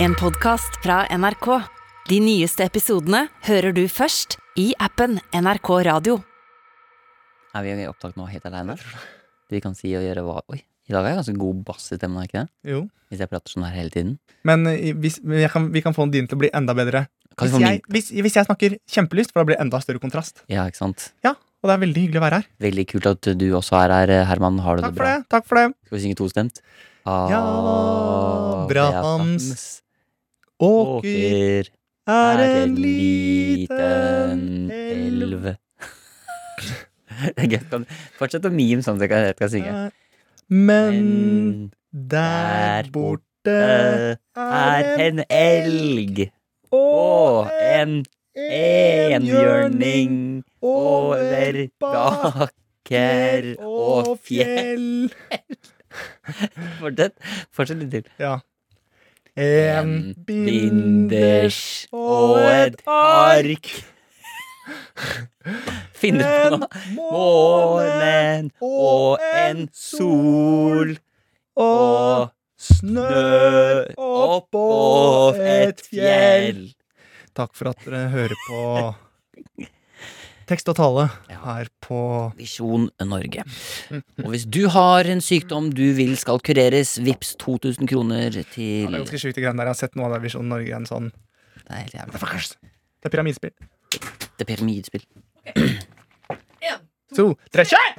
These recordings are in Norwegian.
En podcast fra NRK. De nyeste episodene hører du først i appen NRK Radio. Er vi i opptak nå helt aleine? Vi kan si og gjøre hva Oi, i dag er jeg ganske god bass i stemmen, er jeg ikke det? Jo. Hvis jeg prater sånn her hele tiden. Men eh, hvis, men jeg kan, vi kan få din til å bli enda bedre. Kan vi Hvis få jeg, min? hvis, hvis jeg snakker kjempelyst, for da blir det enda større kontrast. Ja, ikke sant? Og det er veldig hyggelig å være her. Veldig kult at du også er her, Herman. Har du Takk det for bra? det. takk for det Skal vi synge tostemt? Ah, Ja, Brahms Åker åker er en liten elv Det er gøy. Kan du fortsette å mime sånn at jeg kan- jeg kan synge. Men der der borte eh, er en elg og en enhjørning over bakker og fjell. Fortsett, fortsett litt til. Ja. En binders binders og et ark. Finner du på En noe? Månen og en sol og snø oppå et fjell. Takk for at dere hører på tekst og tale Ja. her på Visjon Norge. Og hvis du har en sykdom du vil skal kureres, vips 2000 kroner ja, til Det er ganske sjukt, de greiene der. Jeg har sett noe av det Visjon Norge. En sånn Det er helt jævlig. Det er pyramidespill. Det er pyramidespill. To, tre, kjør!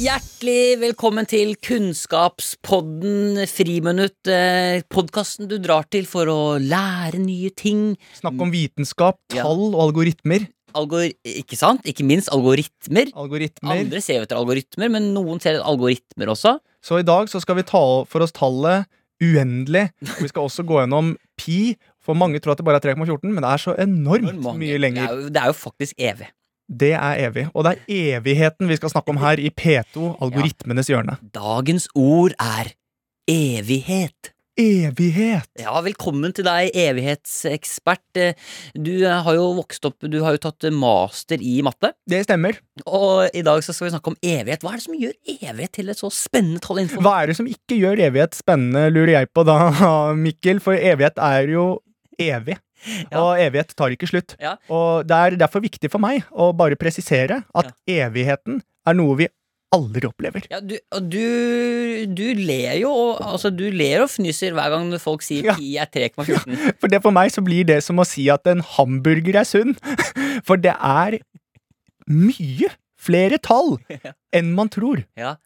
Hjertelig velkommen til Kunnskapspodden Friminutt. Eh, podkasten du drar til for å lære nye ting. Snakk om vitenskap, Mm. Ja. tall og algoritmer. Algor ikke sant? Ikke minst algoritmer. Algoritmer. Andre ser jo etter algoritmer, men noen ser etter algoritmer også. Så i dag så skal vi ta for oss tallet uendelig. Og vi skal også gå gjennom pi. For mange tror at det bare er 3,14, men det er så enormt Mange. mye Det lenger. er, jo, det er jo faktisk evig. Det er evig. Og det er evigheten vi skal snakke om her i P2, algoritmenes hjørne. Dagens ord er evighet. Evighet! Ja, velkommen til deg, evighetsekspert. Eh, Du eh, har jo vokst opp, du har jo tatt eh, master i matte, Det stemmer. og i dag så skal vi snakke om evighet. Hva er det som gjør evighet til et så spennende tall innenfor Hva er det som ikke gjør evighet spennende, lurer jeg på da, Mikkel? For evighet er jo evig. Ja. Og evighet tar ikke slutt. Ja. Og det er derfor viktig for meg å bare presisere at evigheten er noe vi aldri opplever. Ja, du, og du, du ler jo og, altså, du ler og fnyser hver gang folk sier Ja. pi er 3,14. For det for meg så blir det som å si at en hamburger er sunn. For det er mye flere tall enn man tror. Ja.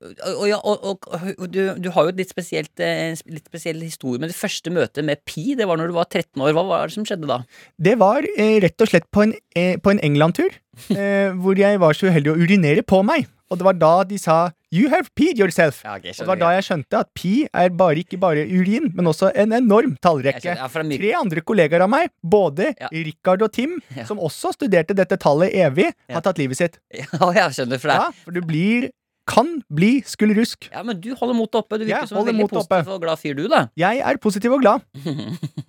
Og, og, ja, og, og, og du, du har jo et litt, spesielt, eh, sp- litt spesiell historie, men det første møtet med Pi, det var når du var 13 år. Hva var det som skjedde da? Det var eh, rett og slett på en, eh, på en England-tur, eh, hvor jeg var så uheldig å urinere på meg. Og det var da de sa 'you have peed yourself'. Ja, okay, Og det var da jeg skjønte at pi er bare, ikke bare urin, men også en enorm tallrekke. ja, for det er mye, Tre andre kollegaer av meg, både Ja. Richard og Tim, Ja. som også studerte dette tallet evig, Ja. har tatt livet sitt. ja, jeg skjønner for deg. Ja, for du blir kan bli skullerusk. Ja, men du holder motet oppe. Du Jeg virker som en holder veldig motet oppe. positiv og glad fyr, du, da. Jeg er positiv og glad.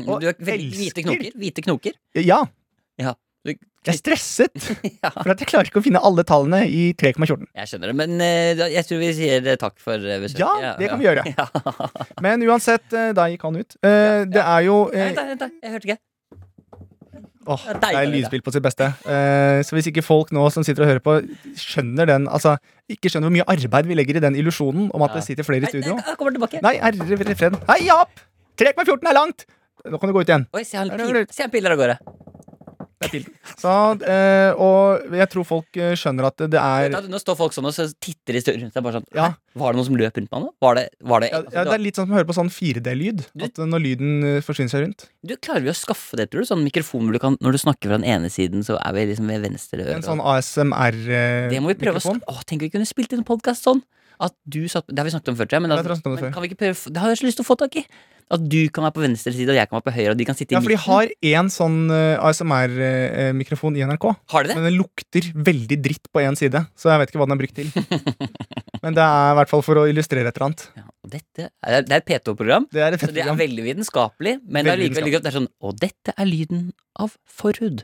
Og Du har veldig hvite elsker. knoker. Hvite knoker. Ja. Ja. Du- Jeg er stresset Ja, for at jeg klarer ikke å finne alle tallene i 3,14. jeg skjønner det, men eh, da- jeg tror vi sier eh, takk for eh, besøket. Ja, det kan vi gjøre. Ja. Men uansett, eh, da gikk han ut. Eh, Det er jo eh, Vent, da, vent, da. Jeg hørte ikke. Åh, Det er det er deilig, lydspill på sitt beste. Eh, så hvis ikke folk nå som sitter og hører på, skjønner den Altså, ikke skjønner hvor mye arbeid vi legger i den illusjonen om Ja. at det sitter flere i Nei, studio nei, jeg kommer tilbake. Nei, herre fred. Hei, Japp! 3,14 er langt! Nå kan du gå ut igjen. Oi, se han, Er det pil, lurt? se han piler av gårde. Det er pilen. Så, eh, og jeg tror folk eh, skjønner at det Vet er du at Nå står folk sånn og så titter de rundt seg bare sånn Ja. «Hæ? Var det noen som løp rundt meg nå? Var det, var det, ja, altså, ja, det er litt sånn som å høre på sånn 4D-lyd. Du- At eh, når lyden eh, forsvinner seg rundt. du, Klarer vi å skaffe det, tror du? Sånn mikrofon hvor du kan Når du snakker fra den ene siden, så er vi liksom ved venstre øre. En sånn eh, ASMR-mikrofon. det må vi prøve å sk- Åh, Tenk vi kunne spilt inn en podkast sånn! At du satt Det har vi snakket om før, tror jeg, men, Jeg at, tror jeg har snakket om det men før. kan vi ikke prøve å- Det har jeg så lyst til å få tak i! At du kan være på venstre side, og jeg kan være på høyre, og de kan sitte i Ja, for de midten. har én sånn ASMR-mikrofon eh, i NRK. Har de det? Men den lukter veldig dritt på én side, så jeg vet ikke hva den er brukt til. Men det er i hvert fall for å illustrere et eller annet. Ja, og dette er, Det er et P2-program, Det er et så fett det er program. veldig vitenskapelig, men det er Veldig likevel like godt. Det er sånn Og dette er lyden av forhud.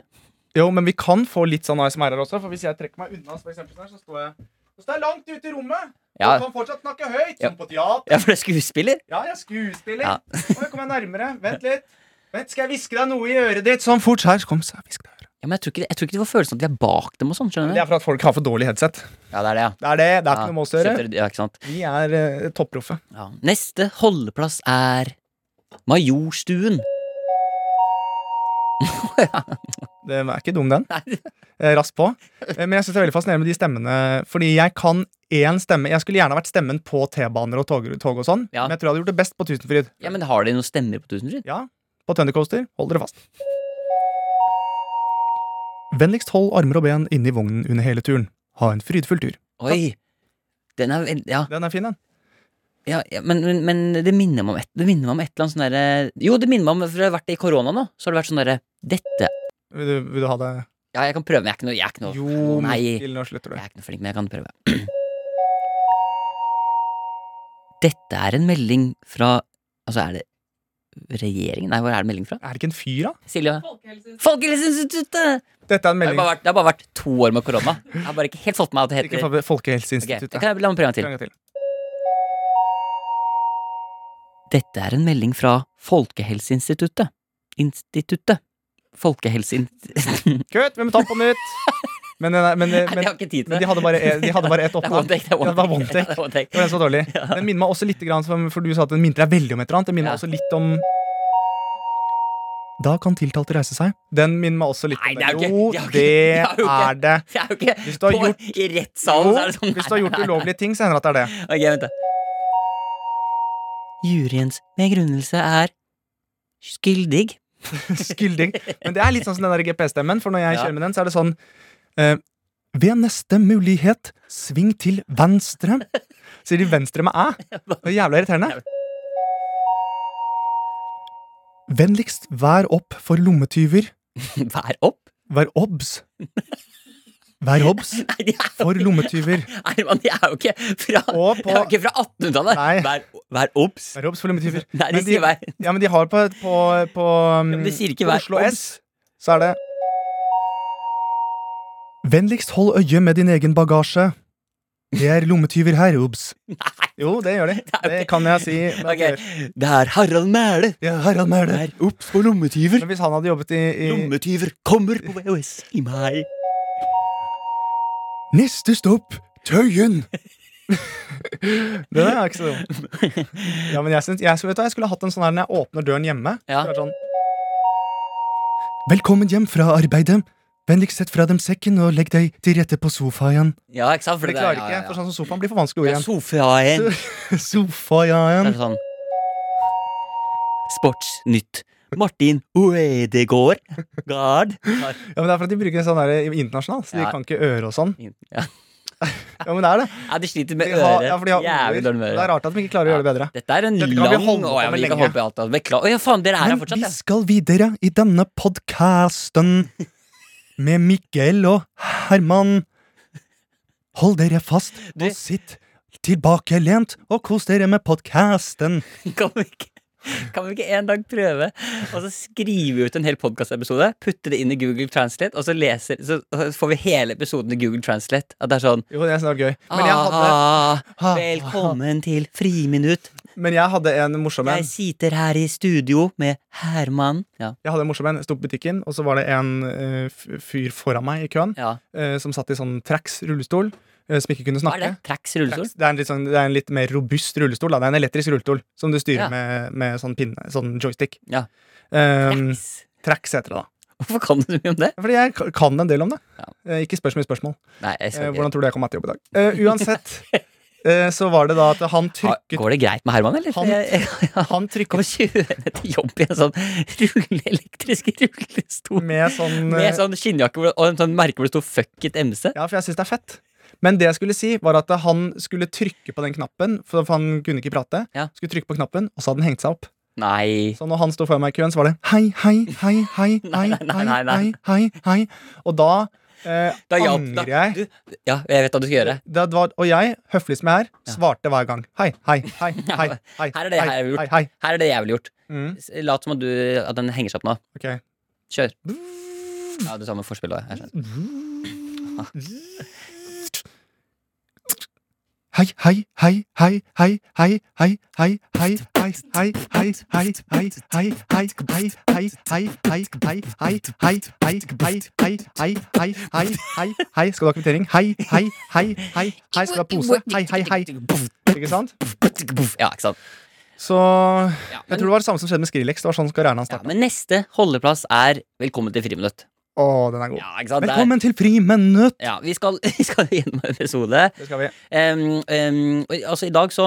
Jo, men vi kan få litt sånn ASMR her også, for hvis jeg trekker meg unna, så for eksempel, sånn her, så står jeg så står jeg langt ute i rommet Ja. og kan fortsatt snakke høyt, Ja. som på teater. Ja, for det er skuespiller? Ja, jeg er skuespiller. Ja. Nå kommer jeg nærmere. Vent litt. Vent, skal jeg hviske deg noe i øret ditt? Sånn fort. Her, kom, så hvisk deg i øret. Ja, men jeg tror, ikke, jeg tror ikke det var følelsen at vi er bak dem og sånn, skjønner Det du? er for at folk har for dårlig headset. Ja, det er det, ja. Det er det. Det er Ja, ikke noe med oss å gjøre. setter- Ja, ikke sant. Vi er eh, topproffe. Ja. Neste holdeplass er Majorstuen. Det er ikke dum, den. Nei, det- Eh, Raskt på. Eh, Men jeg synes det er veldig fascinerende med de stemmene, fordi jeg kan én stemme. Jeg skulle gjerne vært stemmen på T-baner og tog, tog og sånn, Ja. men jeg tror jeg hadde gjort det best på Tusenfryd. Ja, men har de noen stemmer på Tusenfryd? Ja, på Thundercoaster. Hold dere fast. Vennligst hold armer og ben inne i vognen under hele turen. Ha en frydfull tur. Oi! Den er veld- ja, Den er fin, den. ja, ja men, men, men det minner meg om et, det minner meg om et eller annet sånn derre Jo, det minner meg om For det har vært det i korona nå, så har det vært sånn derre Dette Vil du, vil du ha det Ja, jeg kan prøve, men jeg er ikke noe, jeg er ikke noe Jo, nei. Mikkel, nå slutter Jeg du. er ikke noe flink, men jeg kan prøve. Dette er en melding fra Altså, er det regjeringen? Nei, hvor er det melding fra? Er det ikke en fyr, da? Silje? Folkehelseinstituttet! Dette er en Det har melding bare vært, det har bare vært to år med korona. Jeg har bare ikke helt fått med meg at det Ikke heter fra Ok, jeg Folkehelseinstituttet. kan, La meg prøve en En til. gang til. Dette er en melding fra Folkehelseinstituttet. Instituttet. Folkehelseinstituttet Kutt! Vi må ta på nytt! Men, den er- men, eh, Nei, men, jeg har ikke tid til men det. de hadde bare, de hadde bare ett Det er one opphold. take, det er Ja, one det var one take. take. Det er one take. Det var Den så dårlig. Ja. Den minner meg også litt, grann, som- for du sa at den minner deg veldig om et eller annet. Den minner Ja. meg også litt om Da kan tiltalte reise seg. Den minner meg også litt Nei, om det er jo ikke- Jo, det er jo ikke- det det er jo ikke- er det. Det er jo ikke Hvis du har på, gjort- I rettssalen Jo, så er det sånn hvis du har nei, gjort nei, nei. ulovlige ting, så hender det at det er det. Ok, vent da. Juryens begrunnelse er skyldig. Skyldig. Men det er litt sånn som den der GPS-stemmen, for når jeg Ja. kjører med den, så er det sånn eh, Ved neste mulighet, sving til venstre. Sier de venstre med æ. Det er jævla irriterende. Vennligst vær opp for lommetyver. Vær opp. Vær obs. Vær obs Nei, de er, for lommetyver. nei, man, de er jo ikke fra, Og de er på jo ikke fra 1800-tallet. Nei. Vær, vær obs. Vær obs for lommetyver. Nei, de Men de- sier vær. Ja, men de har på, på, på um, men de sier ikke på vær Oslo obs. S, så er det Vennligst hold øye med din egen bagasje. Det er lommetyver her, obs. Nei, Jo, det gjør de. er jo Det ikke- kan jeg si. men ok. det gjør. Det er Harald Mæle. Ja, Harald Mæhle. Vær obs for lommetyver. Men hvis han hadde jobbet i, i Lommetyver kommer på E. VHS i mai. Neste stopp, Tøyen! det er ikke så dumt. Ja, men jeg, syns- jeg, skulle- vet du, hva, jeg skulle hatt en sånn her når jeg åpner døren hjemme. Ja. Så er det Sånn. Velkommen hjem fra arbeidet. Vennligst sett fra dem sekken og legg deg til rette på sofaen. Ja, ikke sant? For det er- ja, klarer ikke, ja, for ja. sånn som sofaen blir for vanskelig ord Ja, igjen. Sofaen. Det Sofaen. er sånn Sportsnytt. Martin Oedegaard Gard. Ja, men det er for at de bruker sånn der internasjonal, så de Ja. kan ikke øre og sånn. Ja. Ja, men det er det. ja, de sliter med De har, øret. ja, for de har Jævlig ord. dårlig med Det er øret. rart at de ikke klarer å Ja. gjøre det bedre. Dette er en Dette lang kan vi holde på Å, ja, med men vi kan lenge. holde på i alt annet. Beklager. Å ja, faen, dere er her Men fortsatt, vi ja. skal videre i denne podkasten med Mikkel og Herman. Hold dere fast Du- og sitt tilbakelent og kos dere med podkasten. Kan vi, ikke, kan vi ikke en dag prøve og så skrive ut en hel podkastepisode, putte det inn i Google Translate, og så, leser, så får vi hele episoden i Google Translate? At det er sånn Jo, det er snart gøy. ah, Ha, Velkommen til friminutt. men jeg hadde en morsom Jeg en. sitter her i studio med Herman. Ja. Jeg hadde en morsom en, Sto på butikken, og så var det en eh, f- fyr foran meg i køen ja. eh, som satt i sånn tracks rullestol, eh, som ikke kunne Hva er det? snakke. Tracks rullestol? Tracks. Det er, en litt sånn, det er en litt mer robust rullestol. Da. Det er en elektrisk rullestol som du styrer Ja. med, med sånn pinne, sånn joystick. Ja. Um, Tracks? Tracks heter det, da. Hvorfor kan du så mye om det? Fordi jeg k- kan en del om det. Ja. Eh, Ikke spørs mye spørsmål. Nei, jeg Eh, skal Hvordan tror du jeg kom meg til jobb i dag? Eh, Uansett, eh, så var det da at han Ha, trykket Går det greit med Herman, eller? Han- Jeg- jeg- jeg- Han trykket Kommer kjørende til jobb i en sånn rulle, elektrisk rullestol med sånn eh, med sånn skinnjakke hvor- og en sånn merke hvor det sto 'fuck it MC'. Ja, for jeg syns det er fett. Men det jeg skulle si, var at han skulle trykke på den knappen, for for han kunne ikke prate. Ja. Skulle trykke på knappen, og så hadde den hengt seg opp. Nei. Så når han sto foran meg i køen, så var det hei, hei, hei, hei, Nei, hei, nei, nei, hei, nei, hei, nei. hei, hei. Og da, eh, Da hjalp angrer jeg. det. Du, ja, jeg vet hva du skal gjøre. det var, og jeg, høflig som jeg er, svarte hver gang. Hei, hei, hei, hei, hei, Her er det jeg hei, har gjort. hei, hei. Her er det jeg ville gjort. Mm, Lat som at, du, at den henger seg opp nå. ok. Kjør. Ja, det samme forspillet òg. Jeg skjønner. Hei, hei, hei, hei, hei, hei, hei, hei, hei, hei, hei, hei, hei, hei, hei, hei, hei, hei, hei, hei, hei, hei, hei, hei, hei, hei, hei, hei, hei, hei, hei, skal du ha kvittering? Hei, hei, hei, hei, hei, skal du ha pose? Hei, hei, hei. Ikke sant? Ja, ikke sant? Så Ja, jeg men, tror det var det samme som skjedde med Skrillex. Det var sånn karrieren hans ja, starta. men neste holdeplass er Velkommen til friminutt. Å, den er god. Ja, ikke sant? Der- Velkommen til Friminutt! Ja, vi skal, vi skal gjennom en episode. Det skal vi. Em, em, og altså, i dag så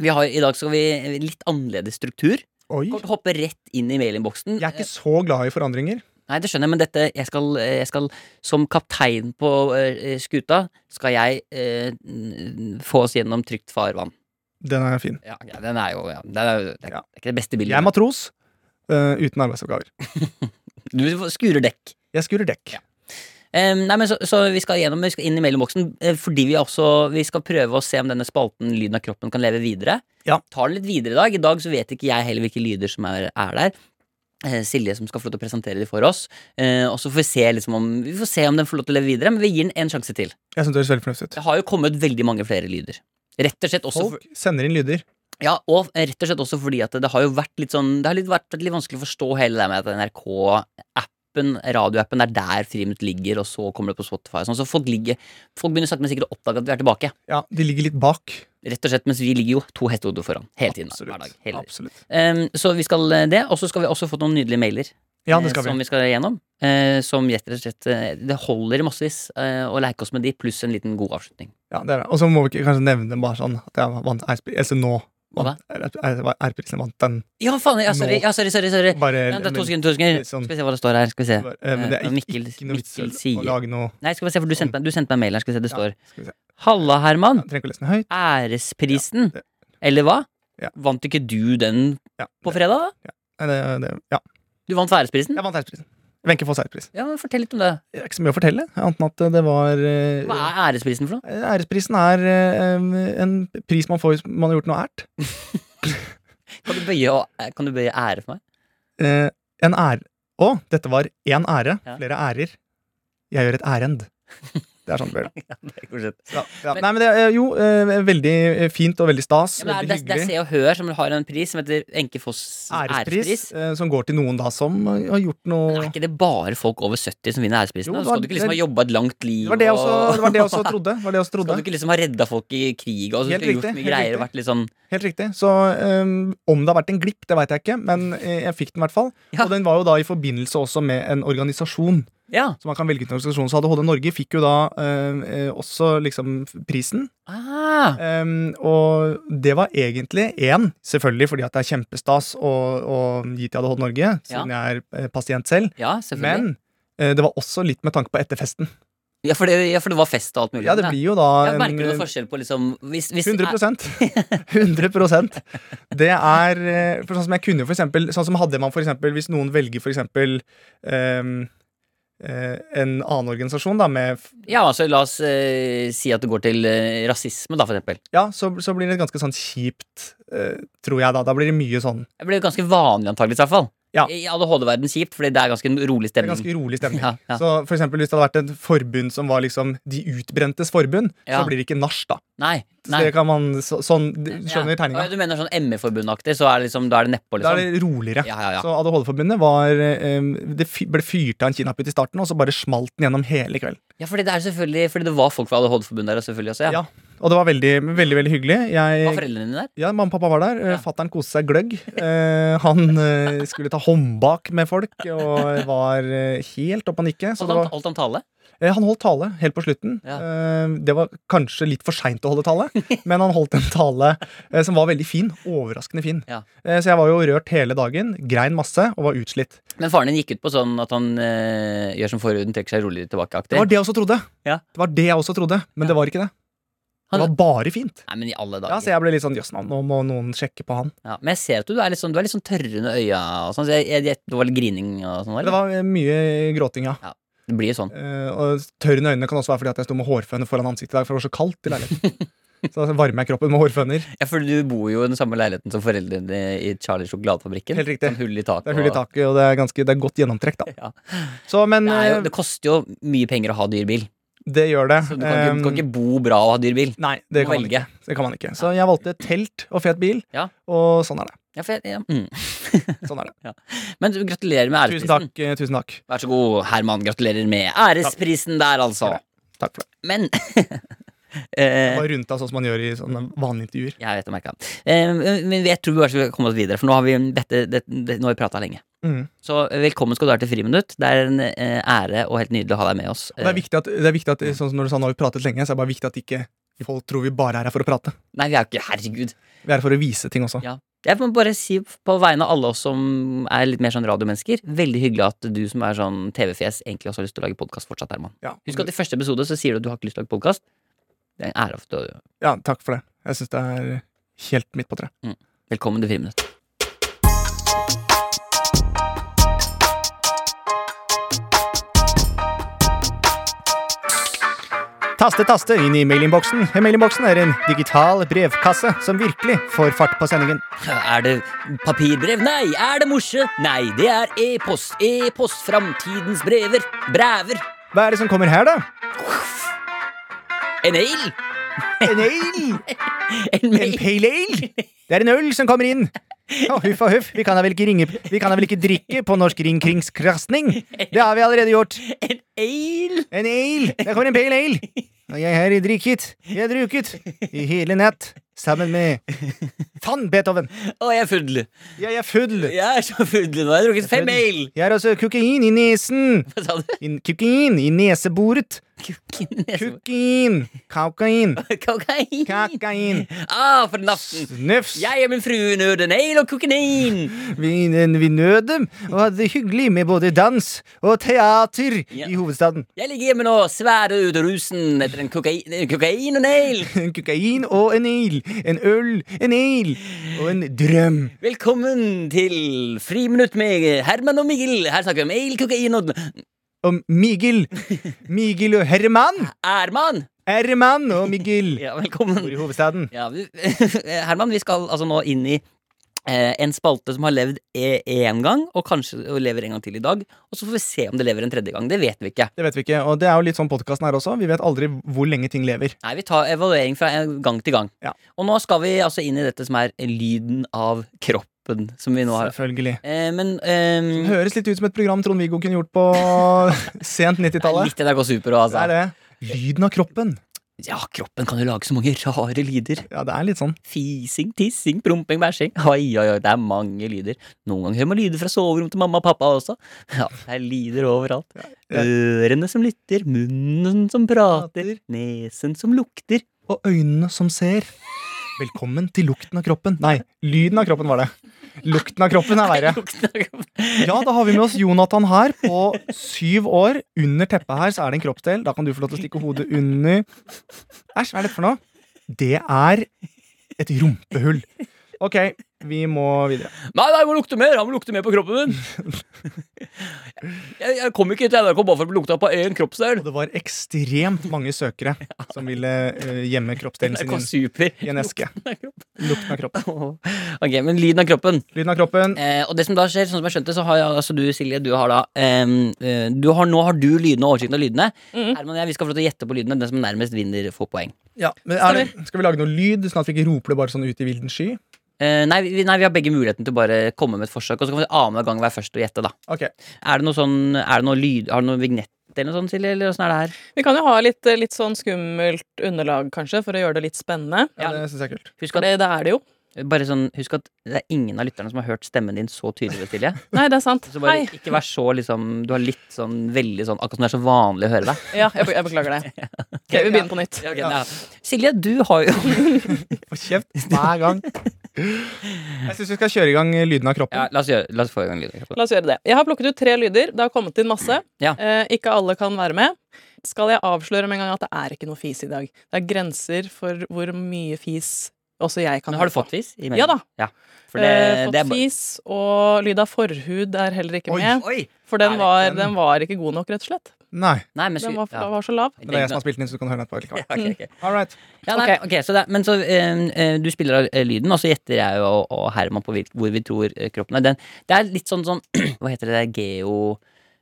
vi har, I dag skal vi litt annerledes struktur. Oi. Kort hoppe rett inn i mailinnboksen. Jeg er ikke så glad i forandringer. Nei, det skjønner jeg, men dette jeg skal, jeg skal Som kaptein på eh, skuta skal jeg eh, n- få oss gjennom trygt farvann. Den er fin. Ja, ja, den er jo ja, den er, jo- det, er, Ja. det er ikke det beste Jeg er bildet. matros eh, uten arbeidsoppgaver. Du skurer dekk. Jeg skurer dekk. Em, nei, men så, så vi skal gjennom, vi skal inn i mailinnboksen eh, fordi vi også Vi skal prøve å se om denne spalten Lyden av kroppen kan leve videre. Ja. Tar den litt videre i dag. I dag så vet ikke jeg heller hvilke lyder som er, er der. Eh, Silje som skal få lov til å presentere de for oss. Eh, og så får vi se liksom om Vi får se om den får lov til å leve videre, men vi gir den en sjanse til. Jeg synes det høres veldig fornuftig ut. Det har jo kommet veldig mange flere lyder. Rett og slett også, for, Folk sender inn lyder. ja, og rett og slett også fordi at det har jo vært litt sånn Det har litt, vært litt vanskelig å forstå hele det med at NRK-appen, radioappen, er der Friminutt ligger, og så kommer det på Spotify. og Sånn, så folk, ligger, folk begynner sakte, men sikkert å oppdage at vi er tilbake. Ja, de ligger litt bak. Rett og slett, Mens vi ligger jo to hestehoder foran hele tiden. hver dag, Absolutt. hele tiden. Absolutt. Em, så vi skal eh, det, og så skal vi også få noen nydelige mailer Ja, eh, det skal som vi. vi skal gjennom. eh, som rett og slett eh, Det holder i massevis eh, å leke oss med de, pluss en liten god avslutning. Ja, det er det. Og så må vi ikke kanskje nevne bare sånn at jeg vant R-prisen. Altså nå Hva vant R-prisen. Vant den. Ja, faen! Ja, sorry, ja, Nå. sorry, sorry, sorry. Bare Ja, det er to Eh, men- sekunder, to sekunder. litt sånn- Skal vi se hva det står her. Skal vi se. bare- eh, Men det er Eh, ikke, Mikkel, ikke noe vits Mikkel i å sier lage noe Nei, skal vi se, for du sendte, meg- du sendte meg en mail her. Skal vi se, det Ja, står skal vi se. Halla, Ja, Herman. trenger ikke å lese den høyt. Æresprisen. Ja, det- Eller hva? Ja. Vant ikke du den Ja, på fredag, da? Nei, det, det, ja. Du vant for æresprisen? Jeg vant R-prisen. Wenche Foss R-pris. Ja, men Fortell litt om det. Det er ikke så mye å fortelle, annet enn at det var eh, Hva er æresprisen for noe? Æresprisen er eh, en pris man får hvis man har gjort noe ært. Kan du bøye, og- kan du bøye ære for meg? Eh, en ære Å, dette var én ære. Ja. Flere ærer. Jeg gjør et ærend. Det er sånn det blir. Ja, det er koselig. Ja, ja. Men- Nei, men det er jo eh, veldig fint og veldig stas. Ja, men det, veldig er, det, er- det er hyggelig. Se og Hør som har en pris som heter Enke Foss Ærespris, ærespris. eh, som går til noen da som har gjort Men noe Er ikke det bare folk over 70 som vinner æresprisen? da? Jo, det Skal var- du ikke liksom ha jobba et langt liv? Det var det jeg også, og- det var det jeg også trodde. det Var det jeg også Skal trodde. du ikke liksom ha redda folk i krig og så skulle Helt du gjort riktig, mye helt greier og riktig. vært litt sånn Helt riktig. Så eh, om det har vært en glipp, det veit jeg ikke, men eh, jeg fikk den i hvert fall. Ja. Og den var jo da i forbindelse også med en organisasjon. Ja. Så man kan velge ut en organisasjon. Så ADHD Norge fikk jo da eh, eh, også liksom prisen. Ah, Ehm, og det var egentlig én, selvfølgelig fordi at det er kjempestas å, å gi til ADHD Norge, siden jeg er eh, pasient selv, ja, selvfølgelig. men eh, det var også litt med tanke på etter festen. ja, for det, ja, for det var fest og alt mulig. Ja, det da. blir jo da ja, en, eh, merker du noen forskjell på liksom hvis, hvis, 100 100 Det er eh, for Sånn som jeg kunne jo for eksempel Sånn som hadde man for eksempel Hvis noen velger for eksempel ehm, eh, en annen organisasjon da med Ja, altså la oss eh, si at det går til eh, rasisme, da, for eksempel. Ja, så, så blir det ganske sånn kjipt, eh, tror jeg da. Da blir det mye sånn Det blir ganske vanlig antakeligvis, i hvert fall. Ja. I ADHD-verden kjipt, fordi det er ganske en rolig det er stemning. ganske rolig stemning. Ja, ja. Så for eksempel hvis det hadde vært et forbund som var liksom de utbrentes forbund, Ja. så blir det ikke nach, da. Nei. Så nei. det kan man, så, sånn, du skjønner ja. tegninga. Å, ja, Du mener sånn ME-forbund-aktig, så er det liksom, da er det nedpå, Da liksom? er det roligere. Ja, ja, ja. Så ADHD-forbundet var eh, Det fy- ble fyrt av en kinaputt i starten, og så bare smalt den gjennom hele kvelden. ja, fordi det er selvfølgelig Fordi det var folk fra ADHD-forbundet der selvfølgelig også, ja. Ja. Og det var veldig, veldig veldig hyggelig. Var Jeg, foreldrene dine der? ja, Mamma og pappa var der. Ja. Ja. Fattern koste seg gløgg. Eh, han eh, skulle ta håndbak med folk og var eh, helt opp og nikke. Så Holdt han, det var, holdt han tale? eh, han holdt tale helt på slutten. Ja. Eh, det var kanskje litt for seint å holde tale, men han holdt en tale eh, som var veldig fin. Overraskende fin. Ja. Eh, så jeg var jo rørt hele dagen, grein masse og var utslitt. Men faren din gikk ut på sånn at han eh, gjør som forhuden, trekker seg rolig Det tilbake-aktig? var det jeg også trodde. Ja. Det var det jeg også trodde, men Ja. det var ikke det. Det Han- var bare fint. Nei, men i alle Ja, dager. Så jeg ble litt sånn jøss, nå- nå må noen sjekke på han. Ja, men jeg ser at du er litt sånn, du er litt sånn tørre under øya og sånn, så jeg, jeg, jeg, det var litt grining og sånn? Det eller? var eh, mye gråting, ja. Ja. Det blir sånn. Eh, og tørren i øynene kan også være fordi at jeg sto med hårføne foran ansiktet i dag, for det var så kaldt i leiligheten. Så da varmer jeg kroppen med hårføner. Ja, for du bor jo i den samme leiligheten som foreldrene i Charlies sjokoladefabrikken. Helt riktig. Sånn hull i taket. Det er hull i og- taket, og det er, ganske, det er godt gjennomtrekk, da. Ja. Så, men Det, eh, er jo, det koster jo mye penger å ha dyr bil. det gjør det. Så du kan, ikke, du kan Eh, ikke bo bra og ha dyr bil. Nei, det Du må kan, man velge. ikke. det kan man ikke. Så jeg valgte telt og fet bil, Ja. og sånn er det. Ja, for jeg, ja. Mm. Sånn er det. Men du, gratulerer med Tusen æresprisen. takk. eh, Tusen takk. Vær så god, Herman. Gratulerer med æresprisen der, altså. Takk for det. Men eh, Bare rundt av sånn som man gjør i sånne vanlige intervjuer. Jeg vet det, merka. Eh, men jeg tror vi bare skal komme oss videre, for nå har vi, dette, det, det, nå har vi prata lenge. Mm. Så eh, velkommen skal du være til Friminutt. Det er en eh, ære og helt nydelig å ha deg med oss. Og det Eh, er viktig at, det er viktig at sånn som når du sa nå har vi pratet lenge, så er det bare viktig at ikke folk tror vi bare er her for å prate. Eh, Nei, vi er jo ikke Herregud. Vi er her for å vise ting også. Ja. Jeg må bare si på vegne av alle oss som er litt mer sånn radiomennesker, veldig hyggelig at du som er sånn TV-fjes, egentlig også har lyst til å lage podkast fortsatt, Herman. Ja, Husk at i første episode så sier du at du har ikke lyst til å lage podkast. Det er en ære for deg. ja takk for det. Jeg syns det er helt midt på treet. Velkommen til Friminutt. Taste, taste inn i mailinnboksen. Mailinnboksen er en digital brevkasse som virkelig får fart på sendingen. Er det papirbrev? Nei. Er det morse? Nei, det er e-post. E-post. Framtidens brever. Brever. Hva er det som kommer her, da? En ale? En ale! En En mail? pale ale? Det er en øl som kommer inn. Å, huff og huff, vi kan da vel ikke, ringe, vi kan da vel ikke drikke på Norsk Ringkringskrasning? Det har vi allerede gjort. En ale? En ale! Der kommer en pale ale! Og jeg har drikket, jeg har drukket, i hele natt, sammen med Fann Beethoven! Å, jeg er full. Jeg er full! Jeg er så full nå. Jeg har drukket fem ale. Jeg har også kokain i nesen! Hva sa du? In, kokain i neseboret! Kukken i nesen. Kokain! Kokain! Kokain. Kokain! Ah, for den aften. Snøfs! Jeg og min frue nød en ale og kokain. Vi, vi nød dem og hadde det hyggelig med både dans og teater Ja. i hovedstaden. Jeg ligger hjemme nå, svære ut av rusen etter en kokain, kokain og en ale. Kokain og en ale, en øl, en ale og en drøm. Velkommen til Friminutt med Herman og Miguel. Her snakker vi om ale, kokain og Og Miguel. Miguel og Herman. Erman. Herman og Miguel Ja, bor i velkommen. hovedstaden. Ja, vi, Herman, vi skal altså nå inn i eh, en spalte som har levd én gang, og kanskje lever en gang til i dag. Og så får vi se om det lever en tredje gang. Det vet vi ikke. Det vet vi ikke, og det er jo litt sånn podkasten her også. Vi vet aldri hvor lenge ting lever. Nei, Vi tar evaluering fra en gang til gang. Ja. Og nå skal vi altså inn i dette som er lyden av kroppen, som vi nå har. Selvfølgelig. Eh, men ehm, Det høres litt ut som et program Trond-Viggo kunne gjort på sent det er 90-tallet. litt NRK Super òg, Det er altså. det. Lyden av kroppen. Ja, kroppen kan jo lage så mange rare lyder. Ja, det er litt sånn. Fising, tissing, promping, bæsjing. Oi, oi, oi, det er mange lyder. Noen ganger hører man lyder fra soverommet til mamma og pappa også. Ja, det er lyder overalt. Ja. Ørene som lytter, munnen som prater, nesen som lukter. Og øynene som ser. Velkommen til lukten av kroppen. Nei, lyden av kroppen var det. Lukten av kroppen er verre. Lukten av kroppen. Ja, da har vi med oss Jonathan her på syv år. Under teppet her så er det en kroppsdel. Da kan du få lov til å stikke hodet under. Æsj, hva er dette for noe? Det er et rumpehull. Ok, vi må videre. Nei, nei, jeg må lukte mer! Han må lukte mer på kroppen min! Jeg, jeg kom ikke til NRK bare for å bli lukta på én kroppsdel. Og det var ekstremt mange søkere som ville eh, gjemme kroppsdelen sin NRK i Super. en- i en eske. Lukten av kroppen. Lukten av kroppen. Ok, men lyden av kroppen. Lyden av kroppen. Eh, og det som da skjer, sånn som jeg skjønte, så har jeg, altså du Silje, du har da ehm, eh, du har, Nå har du lydene og oversikten av lydene. Herman og jeg, vi skal få lov til å gjette på lydene. Den som nærmest vinner, får poeng. Ja, men er det, skal vi lage noe lyd, sånn at vi ikke roper det bare sånn ut i vilden sky? Eh, nei, vi, nei, vi har begge muligheten til å bare komme med et forsøk, og så kan vi annenhver gang være først og gjette, da. Ok, Er det noe sånn Er det noe lyd Har du noe vignett eller noe sånt, Silje, eller åssen er det her? Vi kan jo ha litt, litt sånn skummelt underlag, kanskje, for å gjøre det litt spennende. ja, det synes jeg er kult. Husk For at, det, det er det jo. bare sånn, husk at det er ingen av lytterne som har hørt stemmen din så tydelig, Silje. Nei, det er sant. Så Hei. bare ikke vær så liksom Du har litt sånn veldig sånn Akkurat som det er så vanlig å høre deg. Ja, jeg, be- jeg beklager det. Ok, vi begynner på nytt. Ja, ok, Ja. ja. Silje, du har jo Få kjeft hver gang. Jeg syns vi skal kjøre i gang lyden av kroppen. ja, la, oss gjøre, la oss få i gang lyden. La oss gjøre det. Jeg har plukket ut tre lyder. Det har kommet inn masse. Ja. Eh, ikke alle kan være med. Skal jeg avsløre med en gang at det er ikke noe fis i dag. Det er grenser for hvor mye fis Også jeg kan Men har du høre fått fis? i meldingen? Ja da. For det, eh, det er fått bare- fis, og lyd av forhud er heller ikke Oi. med. Oi! For den er det var, den? den var ikke god nok, rett og slett. Nei. Nei, men Den skulle- var, ja. den var så lav. Jeg Det er jeg tenkte- som har spilt den, så du kan høre den etterpå likevel. Ja, ok, ok. All right. Ja, nei, ok, så det, Men så eh, eh, du spiller av eh, lyden, og så gjetter jeg og, og Herman på hvil- hvor vi tror eh, kroppen er. Den, det er litt sånn som Hva heter det? det er Geo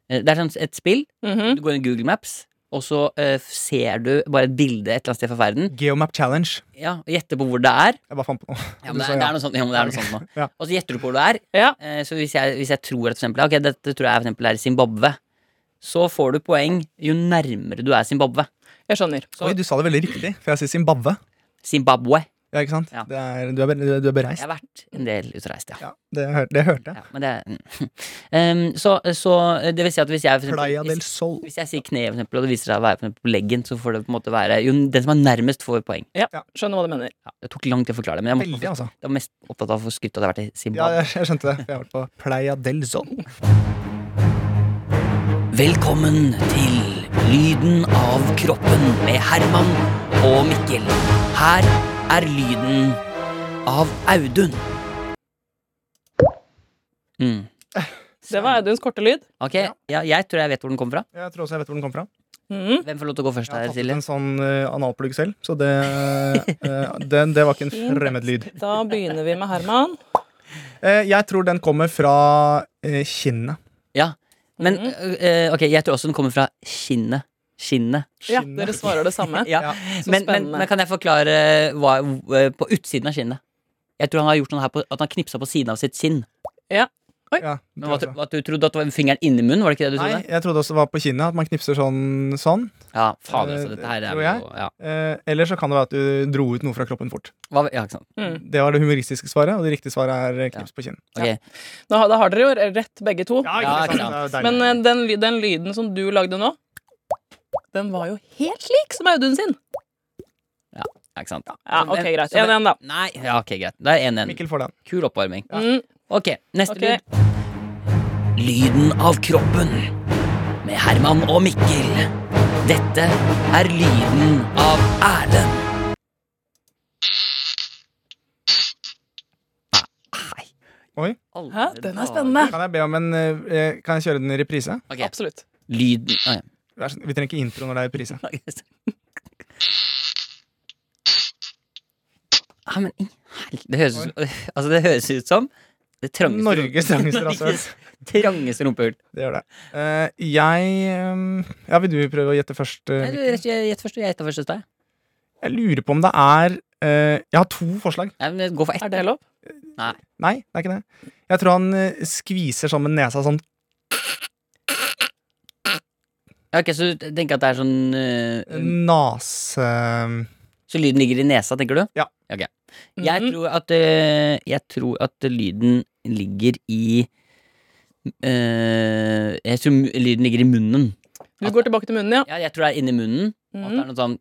eh, Det er sånn et spill. Mhm. Du går inn i Google Maps, og så eh, ser du bare et bilde et eller annet sted fra verden. Geomap Challenge. Ja, og Gjetter på hvor det er. Jeg bare fant på noe. Ja, Du men det, sa er- det ja. er noe sånt, ja, men det er noe Ja, ok. sånt nå. Ja. Og så gjetter du på hvor du er. Ja. Eh, så hvis jeg, hvis jeg tror at for eksempel, Ok, dette tror jeg for eksempel er i Zimbabwe, så får du poeng jo nærmere du er Zimbabwe. Jeg skjønner. Så, Oi, du sa det veldig riktig, for jeg sier Zimbabwe. Zimbabwe. Ja, ikke sant? Ja. Det er, du, er, be- du er Jeg bereist. har vært en del utreist, ja. Ja, det, hør- det hørte jeg. ja men det, Em, så, så det vil si at hvis jeg for Playa del hvis, Sol. hvis jeg sier kne, for eksempel, og det viser seg å være for eksempel, på leggen, så får det på en måte være jo, Den som er nærmest, får poeng. skjønner hva du mener. Ja, det tok lang tid å forklare det, men jeg, måtte, Veldig, altså. jeg var mest opptatt av å få skrytt av at jeg har vært i Ja, Zimbabwe. jeg, jeg skjønte det. for Jeg har vært på Playa del Sol. Velkommen til Lyden av kroppen med Herman og Mikkel. Her er lyden av Audun. Mm. Det var Auduns korte lyd. Ok, ja, jeg tror jeg vet hvor den kom fra. Jeg tror også jeg vet hvor den kom fra. Mhm. Hvem får lov til å gå først Jeg har her, tatt ut Silje? en sånn eh, analplugg selv, så det, eh, den, det var ikke en fremmed lyd. Da begynner vi med Herman. Eh, jeg tror den kommer fra eh, kinnet. Ja, men Mhm. øh, øh, ok, jeg tror også den kommer fra kinnet. Kinnet. Ja, Kinnet. dere svarer det samme. Ja. Ja. Så Men, men, men spennende. kan jeg forklare hva, øh, på utsiden av kinnet? Jeg tror han har gjort noe her på, at han knipsa på siden av sitt sinn. Ja, det Men hva, tror jeg. tro- at du trodde at det var fingeren inni munnen? Var det ikke det du trodde? Nei, jeg trodde også det var på kinnet, at man knipser sånn. sånn. Ja, fader, så Eh, dette her er tror jo jeg. ja. Eh, eller så kan det være at du dro ut noe fra kroppen fort. Hva, ja, ikke sant. Mhm. Det var det humoristiske svaret, og det riktige svaret er eh, knips på kinn. Ok. Nå har- Da har dere jo rett, begge to. Ja, ikke sant. Men eh, den, ly- den lyden som du lagde nå, den var jo helt lik som Audun sin. Ja, ikke sant. Ja, Så ok, det- greit. så det- 1-1, da. Nei, ja, ok, greit. Det er 1-1. Mikkel får den. Kul oppvarming. Ja. Mm, Ok, neste ok. lyd. Lyden av kroppen med Herman og Mikkel. Dette er lyden av Erlend. Ah, Nei. Oi. Hæ? Den er spennende. Kan jeg be om en eh, eh, Kan jeg kjøre den i reprise? Ok, Absolutt. lyden Å, ja. Vær så- Vi trenger ikke intro når det er reprise. Ja, Ah, men i hel- det høres, ut- altså, det høres ut som det trangeste Norges trangeste rasshøl. Norges trangeste rumpehull. Det gjør det. Eh, jeg ehm, Ja, vil du prøve å gjette først? eh, Nei, du, Mikkel? Gjett først. Jeg gjetter først hos deg. Jeg lurer på om det er eh, Jeg har to forslag. Nei, men Gå for ett. Er det lov? Nei, det er ikke det. Jeg tror han eh, skviser sånn med nesa sånn. Ja, ok, så du tenker at det er sånn øh, Nase... Så lyden ligger i nesa, tenker du? Ja. Ok. Jeg Mhm. tror at øh, Jeg tror at lyden ligger i øh, Jeg tror mu- lyden ligger i munnen. Du går tilbake til munnen, ja. Ja, jeg tror det er inni munnen. og Mm. At det Mhm. er noe sånn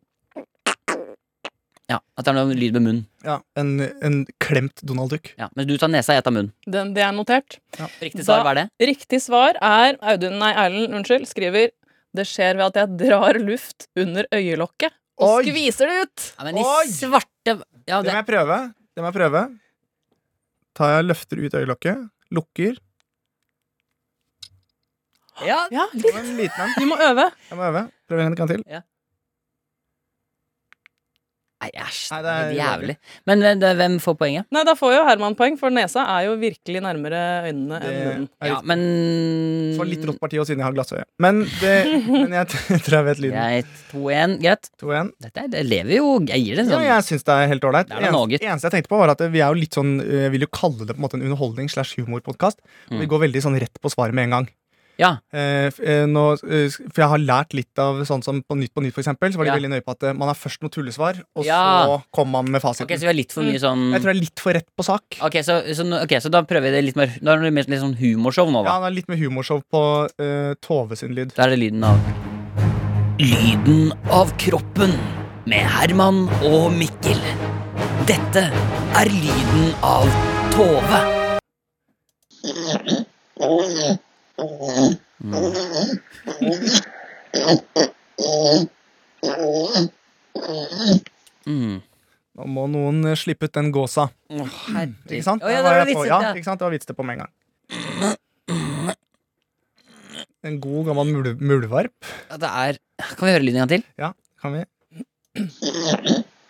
Ja, at det er noe lyd med munnen. Ja, en, en klemt Donald Duck. Ja, Mens du tar nesa, jeg tar munnen. Den, det er notert. Riktig svar, Da- hva er det? Riktig svar er Audun, nei, Erlend, unnskyld, skriver det skjer ved at jeg drar luft under øyelokket og Oi! skviser det ut. Ja, men i Oi! svarte ja, Det det, må jeg prøve. Det må jeg prøve. Tar jeg løfter ut øyelokket, lukker. ja, Ja, Det var En liten en. Du må øve. Jeg må øve. Prøver en gang til. Nei, æsj. Nei, Det det er er helt jævlig. Men eh, det, hvem får poenget? Nei, da får jo Herman poeng, for nesa er jo virkelig nærmere øynene Det enn munnen. er Ja, litt, men for litt rått parti, og siden jeg har glassøye. Men, det, men jeg t- tror jeg vet lyden. Greit. 2-1. Greit. To igjen. Dette er, det lever jo Jeg gir det en Ja, sånn. jeg syns det er helt ålreit. Det er noe Eneste, eneste jeg tenkte på, var at vi er jo litt sånn eh, Jeg vil jo kalle det på en måte en underholdning slash humorpodkast. og Vi Mm. går veldig sånn rett på svaret med en gang. Ja. Eh, f- eh, nå, eh, s- for jeg har lært litt av sånn som På Nytt på Nytt, for eksempel. Så var de Ja. veldig nøye på at eh, man har først noe tullesvar, og så Ja. kom man med fasiten. Ok, så vi har litt for mye sånn Mm. Jeg tror jeg er litt for rett på sak. Ok, så, så, nå- ok, så da prøver vi det litt mer Da er det mer litt sånn humorshow nå, Ja, da. det er litt med humorshow på eh, Tove sin lyd. Da er det lyden av Lyden av kroppen med Herman og Mikkel. Dette er lyden av Tove. Mm. Mm. Nå må noen eh, slippe ut den gåsa. Å, herregud. Ikke sant? Å, ja, det Der var var jeg på. vitset, ja, ja. ikke sant? Det var vits det på med en gang. En god, gammel mul mulvarp. Ja, Det er Kan vi høre lyden en gang til? Ja, kan vi?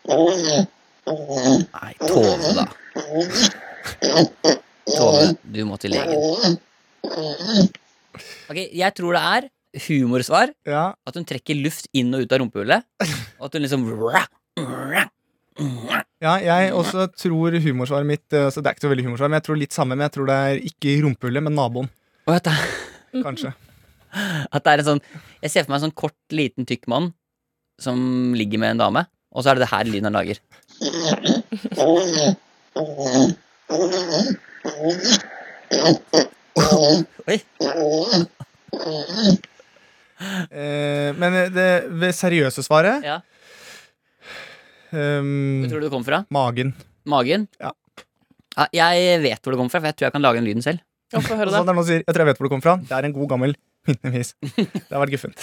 Nei, Tove, da. Tove, du må til legen. Ok, Jeg tror det er humorsvar. Ja, At hun trekker luft inn og ut av rumpehullet. Og at hun liksom ja jeg også tror humorsvaret mitt eh, Så det er ikke så veldig humorsvar, men jeg tror litt samme. Men jeg tror det er ikke rumpehullet, men naboen, Og at det, er- kanskje. at det er en sånn Jeg ser for meg en sånn kort, liten, tykk mann som ligger med en dame, og så er det det her lyden han lager. Oi. Eh, men det ved seriøse svaret Ja. ehm, Hvor tror du det kom fra? Magen. Magen? Ja. Ja, jeg vet hvor det kommer fra, for jeg tror jeg kan lage den lyden selv. Ja, Få Og høre så det. at noen sier, jeg tror jeg vet hvor det kom fra. Det er en god, gammel minnevis. Det har vært guffent.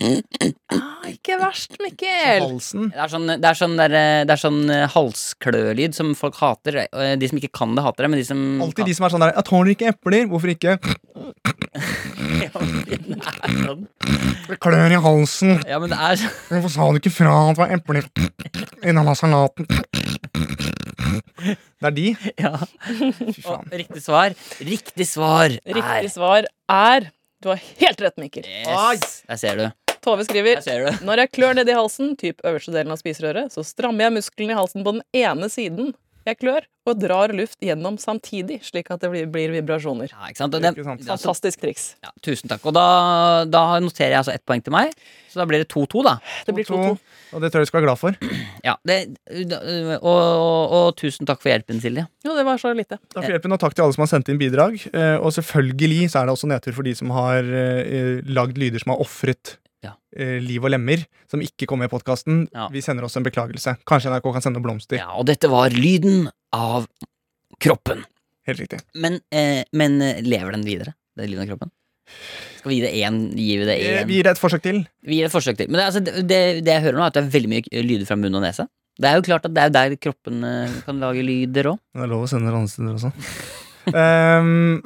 Ah, sånn- ikke verst, Mikkel. Halsen. Det er sånn, det er sånn, der, eh, det er sånn eh, halsklølyd som folk hater. eh, De som ikke kan det, hater det, men de som Alltid de som er sånn der Jeg tåler ikke epler. Hvorfor ikke? Det er sånn. Det klør i halsen. Ja, men det er sånn. Hvorfor sa du ikke fra at det var epler innan salaten? Det er de. Ja. Fy Og faen. riktig svar Riktig svar er Riktig svar er Du har helt rett, Mikkel. yes. Der ser du. Tove skriver Der ser du. Når jeg klør ned i halsen, typ øverste delen av spiserøret, så strammer jeg muskelen i halsen på den ene siden jeg klør, og drar luft gjennom samtidig, slik at det blir, blir vibrasjoner. Ja, ikke sant? Og det, Ikke sant. det er altså, Fantastisk triks. ja, tusen takk. Og da, da noterer jeg altså ett poeng til meg, så da blir det 2-2, da. Det blir 2-2. Og det tror jeg du skal være glad for. Ja, det, og, og, og tusen takk for hjelpen, Silje. Jo, det var så lite. Da får hjelpen, og takk til alle som har sendt inn bidrag. Eh, Og selvfølgelig så er det også nedtur for de som har eh, lagd lyder som har ofret Ja. eh, liv og lemmer, som ikke kom med i podkasten. Ja. Vi sender også en beklagelse. Kanskje NRK kan sende blomster. Ja, og dette var lyden av kroppen. Helt riktig. Men, eh, men eh, lever den videre? Den lyden av kroppen? Skal vi gi det én? Gir vi det Eh, én? Vi gir deg et forsøk til. Vi gir det et forsøk til. Men det, er altså, det, det- det jeg hører nå, er at det er veldig mye k- lyder fra munn og nese. Det er jo klart at det er jo der kroppen eh, kan lage lyder òg. Men Det er lov å sende det andre steder også. Ehm,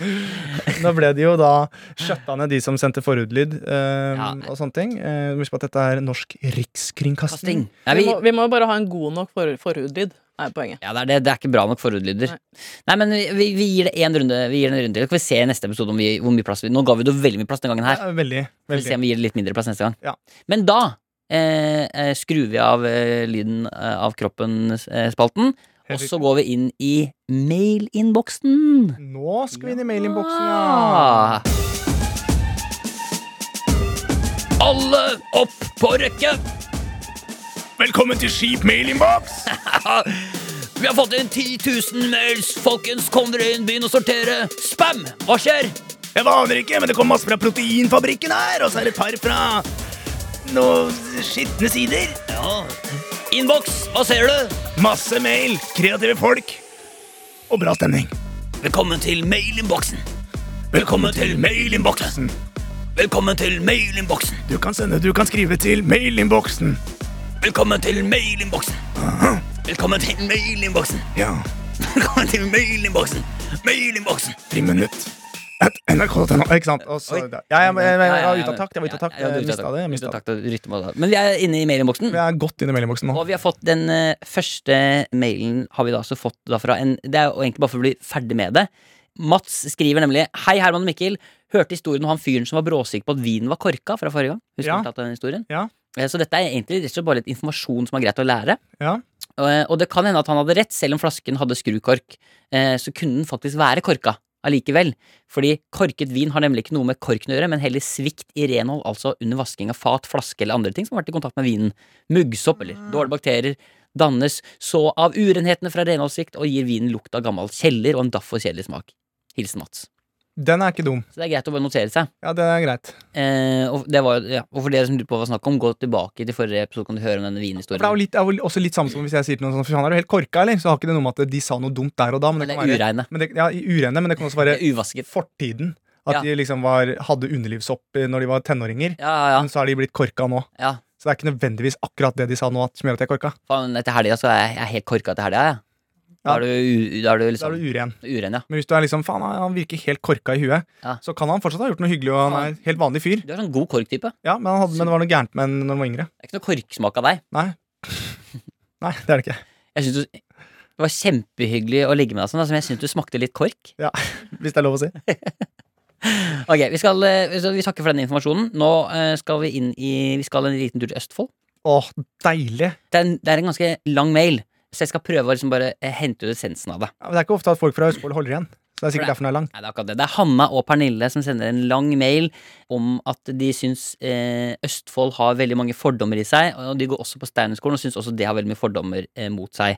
nå ble det jo da skjøtta ned de som sendte forhudlyd ehm, Ja. og sånne ting. Eh, Husk på at dette er Norsk Rikskringkasting. Ja, Vi vi, må, vi må bare ha en god nok for, forhudlyd, er poenget. ja, det, er det, det er ikke bra nok forhudlyder. Nei. Nei. men vi, vi, vi gir det én runde, vi gir det en runde til. Så Skal vi se i neste episode om vi, hvor mye plass vi Nå ga vi det jo veldig mye plass denne gangen her. Ja, veldig. Vi får se veldig. om vi gir det litt mindre plass neste gang. Ja. Men da eh, eh, skrur vi av eh, lyden eh, av eh, kroppen-spalten, og Helt så går vi inn i mailinnboksen. Nå skal vi inn i mailinnboksen, ja. Ah. Alle opp på rekke! Velkommen til Skip mailinnboks! Vi har fått inn 10 000 mails. Folkens, kom dere inn, begynn å sortere. Spam! Hva skjer? Jeg aner ikke, men det kom masse fra proteinfabrikken her, og så er det et par fra noen skitne sider. Innboks, hva ser du? Masse mail, kreative folk og bra stemning. Velkommen til mailinnboksen. Velkommen til mailinnboksen. Velkommen til mailinnboksen. Du kan sende, du kan skrive til mailinnboksen. Velkommen til mailinnboksen. Velkommen til mailinnboksen. Ja, Velkommen til mailinnboksen. Mailinnboksen. friminutt. At nrk.no. Ikke sant? Og så- ja, jeg, jeg, jeg, jeg var ute av takt. Jeg var ute av takt. Ja, ja, du Jeg er ute av mista det. takt. Du er ute Jeg mistet av det. takt, og rytme og da. Men vi er inne i mailinnboksen. Vi er godt inn i mailinnboksen nå. Og vi har fått den eh, første mailen har vi da også fått da fra en Det er jo egentlig bare for å bli ferdig med det. Mats skriver nemlig Hei, Herman og Mikkel. Hørte historien om han fyren som var bråsikker på at vinen var korka fra forrige gang. Husker du Ja. vi tatt den historien? Ja. Eh, Så dette er egentlig rett og slett bare litt informasjon som er greit å lære. Ja. Og, eh, og det kan hende at han hadde rett, selv om flasken hadde skrukork. eh, Så kunne den faktisk være korka allikevel. Fordi korket vin har nemlig ikke noe med korken å gjøre, men heller svikt i renhold, altså under vasking av fat, flaske eller andre ting som har vært i kontakt med vinen. Muggsopp eller Ah. dårlige bakterier dannes så av urenhetene fra renholdssvikt og gir vinen lukt av gammel kjeller og en daff og kjedelig smak. Hilsen Mats. Den er ikke dum. Så det er greit å bare notere seg. Ja, det er greit. Eh, og, det var, jo- ja, og for dere som lurer på hva det er snakk om, gå tilbake til forrige episode, kan du høre om denne For det er jo vinhistorien. litt, er jo også litt samme som hvis jeg sier til noen sånn Fy faen, er du helt korka, eller? Så har ikke det noe med at de sa noe dumt der og da. Men det Det kan er være ureine. men det, ja, urene, men det kan også Det være er uvasket. fortiden. At Ja. de liksom var, hadde underlivssopp eh, når de var tenåringer. Ja, ja, ja. Men så har de blitt korka nå. Ja, Så det er ikke nødvendigvis akkurat det de sa nå at, som gjør at jeg korka. Faen, etter helga så er jeg, jeg er helt korka til helga, jeg. Da Ja. er du, u- da er du Da liksom er du uren. uren, ja. Men hvis du er liksom faen, han virker helt korka i huet, Ja. så kan han fortsatt ha gjort noe hyggelig, og han er en helt vanlig fyr. Du er sånn god korktype. Ja, men, han hadde, men det var noe gærent med han når han var yngre. Det er ikke noe korksmak av deg. Nei. Nei, det er det ikke. Jeg synes du det var kjempehyggelig å ligge med deg sånn, altså, men jeg syns du smakte litt kork. Hvis det er lov å si. Ok, Vi skal, eh, vi skal- vi takker for den informasjonen. Nå eh, skal vi inn i Vi skal en liten tur til Østfold. Åh, deilig. Det er en, det er en ganske lang mail, så jeg skal prøve å liksom bare eh, hente ut essensen av det. Ja, men det er ikke ofte at folk fra Østfold holder igjen. Så det For er det- sikkert derfor den er lang. Nei, det er akkurat det. Det er Hanna og Pernille som sender en lang mail om at de syns eh, Østfold har veldig mange fordommer i seg, og de går også på Steinerskolen og syns også det har veldig mye fordommer eh, mot seg.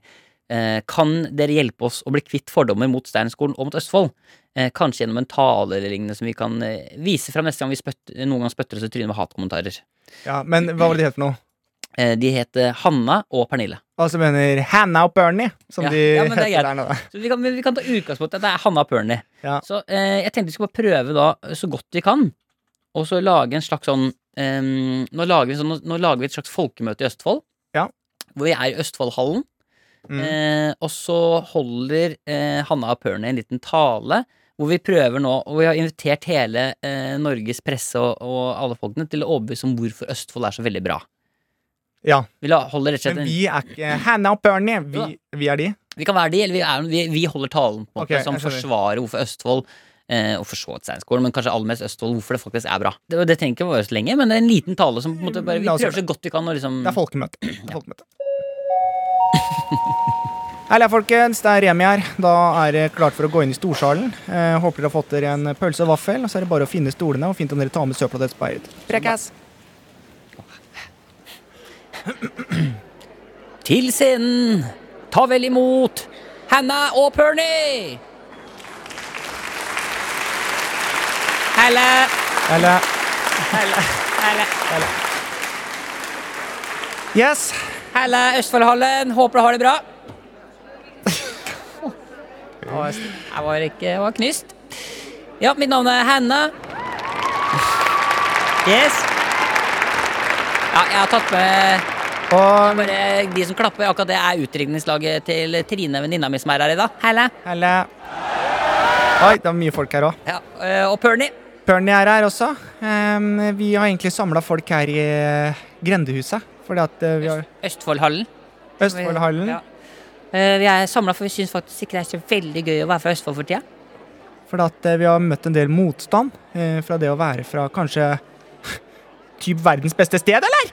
Eh, kan dere hjelpe oss å bli kvitt fordommer mot Steinerskolen og mot Østfold? Eh, kanskje gjennom en tale eller lignende som vi kan eh, vise fram neste gang vi spøt, noen gang spytter oss i trynet med hatkommentarer. Ja, men hva var det de het for noe? Eh, de heter Hanna og Pernille. Altså mener Hanna og Bernie, som Ja, de ja, men det er heter greit. Eh, der nede. Så vi kan, men vi kan ta utgangspunkt i at det er Hanna Perny. Ja. Så eh, jeg tenkte vi skulle bare prøve da eh, så godt vi kan, og så lage en slags sånn ehm, nå, lager vi sånn nå lager vi et slags folkemøte i Østfold. Ja. Hvor vi er i Østfoldhallen. Mm. Eh, og så holder eh, Hanna og Perny en liten tale. Hvor vi prøver nå, og vi har invitert hele eh, Norges presse og, og alle folkene til å overbevise om hvorfor Østfold er så veldig bra. Ja. Vi la, holder rett og slett Men en- vi er ikke Hanna og Bernie. Vi, vi er de. vi kan være de, eller vi, er, vi, vi holder talen på en måte, Ok, som jeg skjønner. forsvarer hvorfor Østfold eh, og for så vidt Steinerskolen, men kanskje aller mest Østfold, hvorfor det faktisk er bra. Det, det trenger ikke å være så lenge, men det er en liten tale som på en måte bare, vi La oss prøver gjøre så godt vi kan å liksom Det er folkemøte. Det er folkemøte. Heia, folkens. Det er Remi her. Da er det klart for å gå inn i storsalen. Eh, håper dere har fått dere en pølse og vaffel. Og så er det bare å finne stolene, og fint om dere tar med søpla deres på vei ut. Prekkas. Til scenen! Ta vel imot Hanna og Pernie! Helle! Eller Helle! Helle! Yes. Helle Østfoldhallen, håper du har det bra. Jeg var ikke jeg var knyst. Ja, mitt navn er Hanne. Yes. Ja, jeg har tatt med Og bare de som klapper. Akkurat det er utdrikningslaget til Trine, venninna mi, som er her i dag. Helle. Eller Oi, det var mye folk her òg. Ja, øh, og Pernie. Bernie er her også. Em, vi har egentlig samla folk her i eh, grendehuset. Fordi at eh, vi har Østfoldhallen. Østfoldhallen. Ja. Eh, Vi er samla, for vi syns faktisk ikke det er så veldig gøy å være fra Østfold for tida. Fordi at eh, vi har møtt en del motstand eh, fra det å være fra kanskje typ verdens beste sted, eller?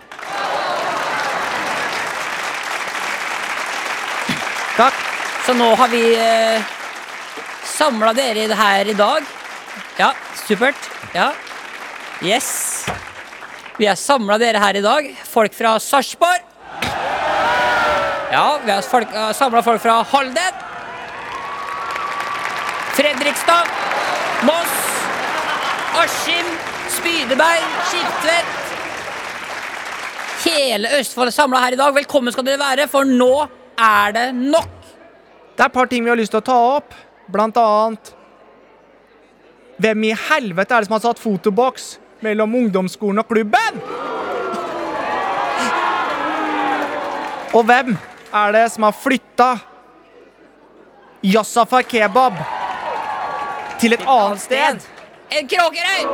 Takk. Så nå har vi eh, samla dere i det her i dag. Ja, supert. Ja. Yes. Vi har samla dere her i dag. Folk fra Sarpsborg. Ja, vi har folk, samla folk fra Halden. Fredrikstad. Moss. Askim. Spydeberg. Skiptvet. Hele Østfold er samla her i dag. Velkommen skal dere være, for nå er det nok. Det er et par ting vi har lyst til å ta opp. Blant annet Hvem i helvete er det som har satt fotoboks mellom ungdomsskolen og klubben? Og hvem er det som har flytta Yassafar kebab til et annet sted? En Kråkerøy!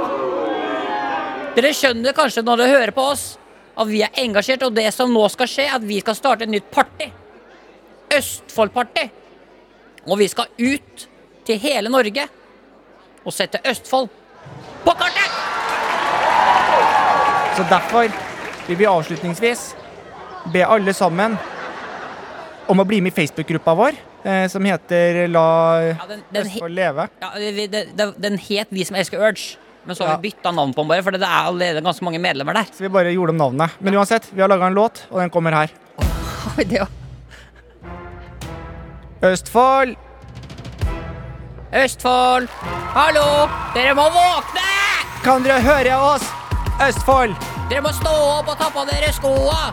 Dere skjønner kanskje når dere hører på oss, at vi er engasjert, og det som nå skal skje, er at vi skal starte et nytt parti. Østfoldparti. Og vi skal ut til hele Norge og sette Østfold på kartet! Så derfor vil vi avslutningsvis be alle sammen om å bli med i Facebook-gruppa vår, eh, som heter La Ja, den, den, he- Østfold leve. ja, vi- den, den, den het Vi som elsker Urge, men så har vi bytta navn på den, bare, for det er allerede ganske mange medlemmer der. Så vi bare gjorde om navnet. Men uansett, vi har laga en låt, og den kommer her. Østfold! Østfold! Hallo! Dere må våkne! Kan dere høre oss? Østfold! Dere må stå opp og ta på dere skoa!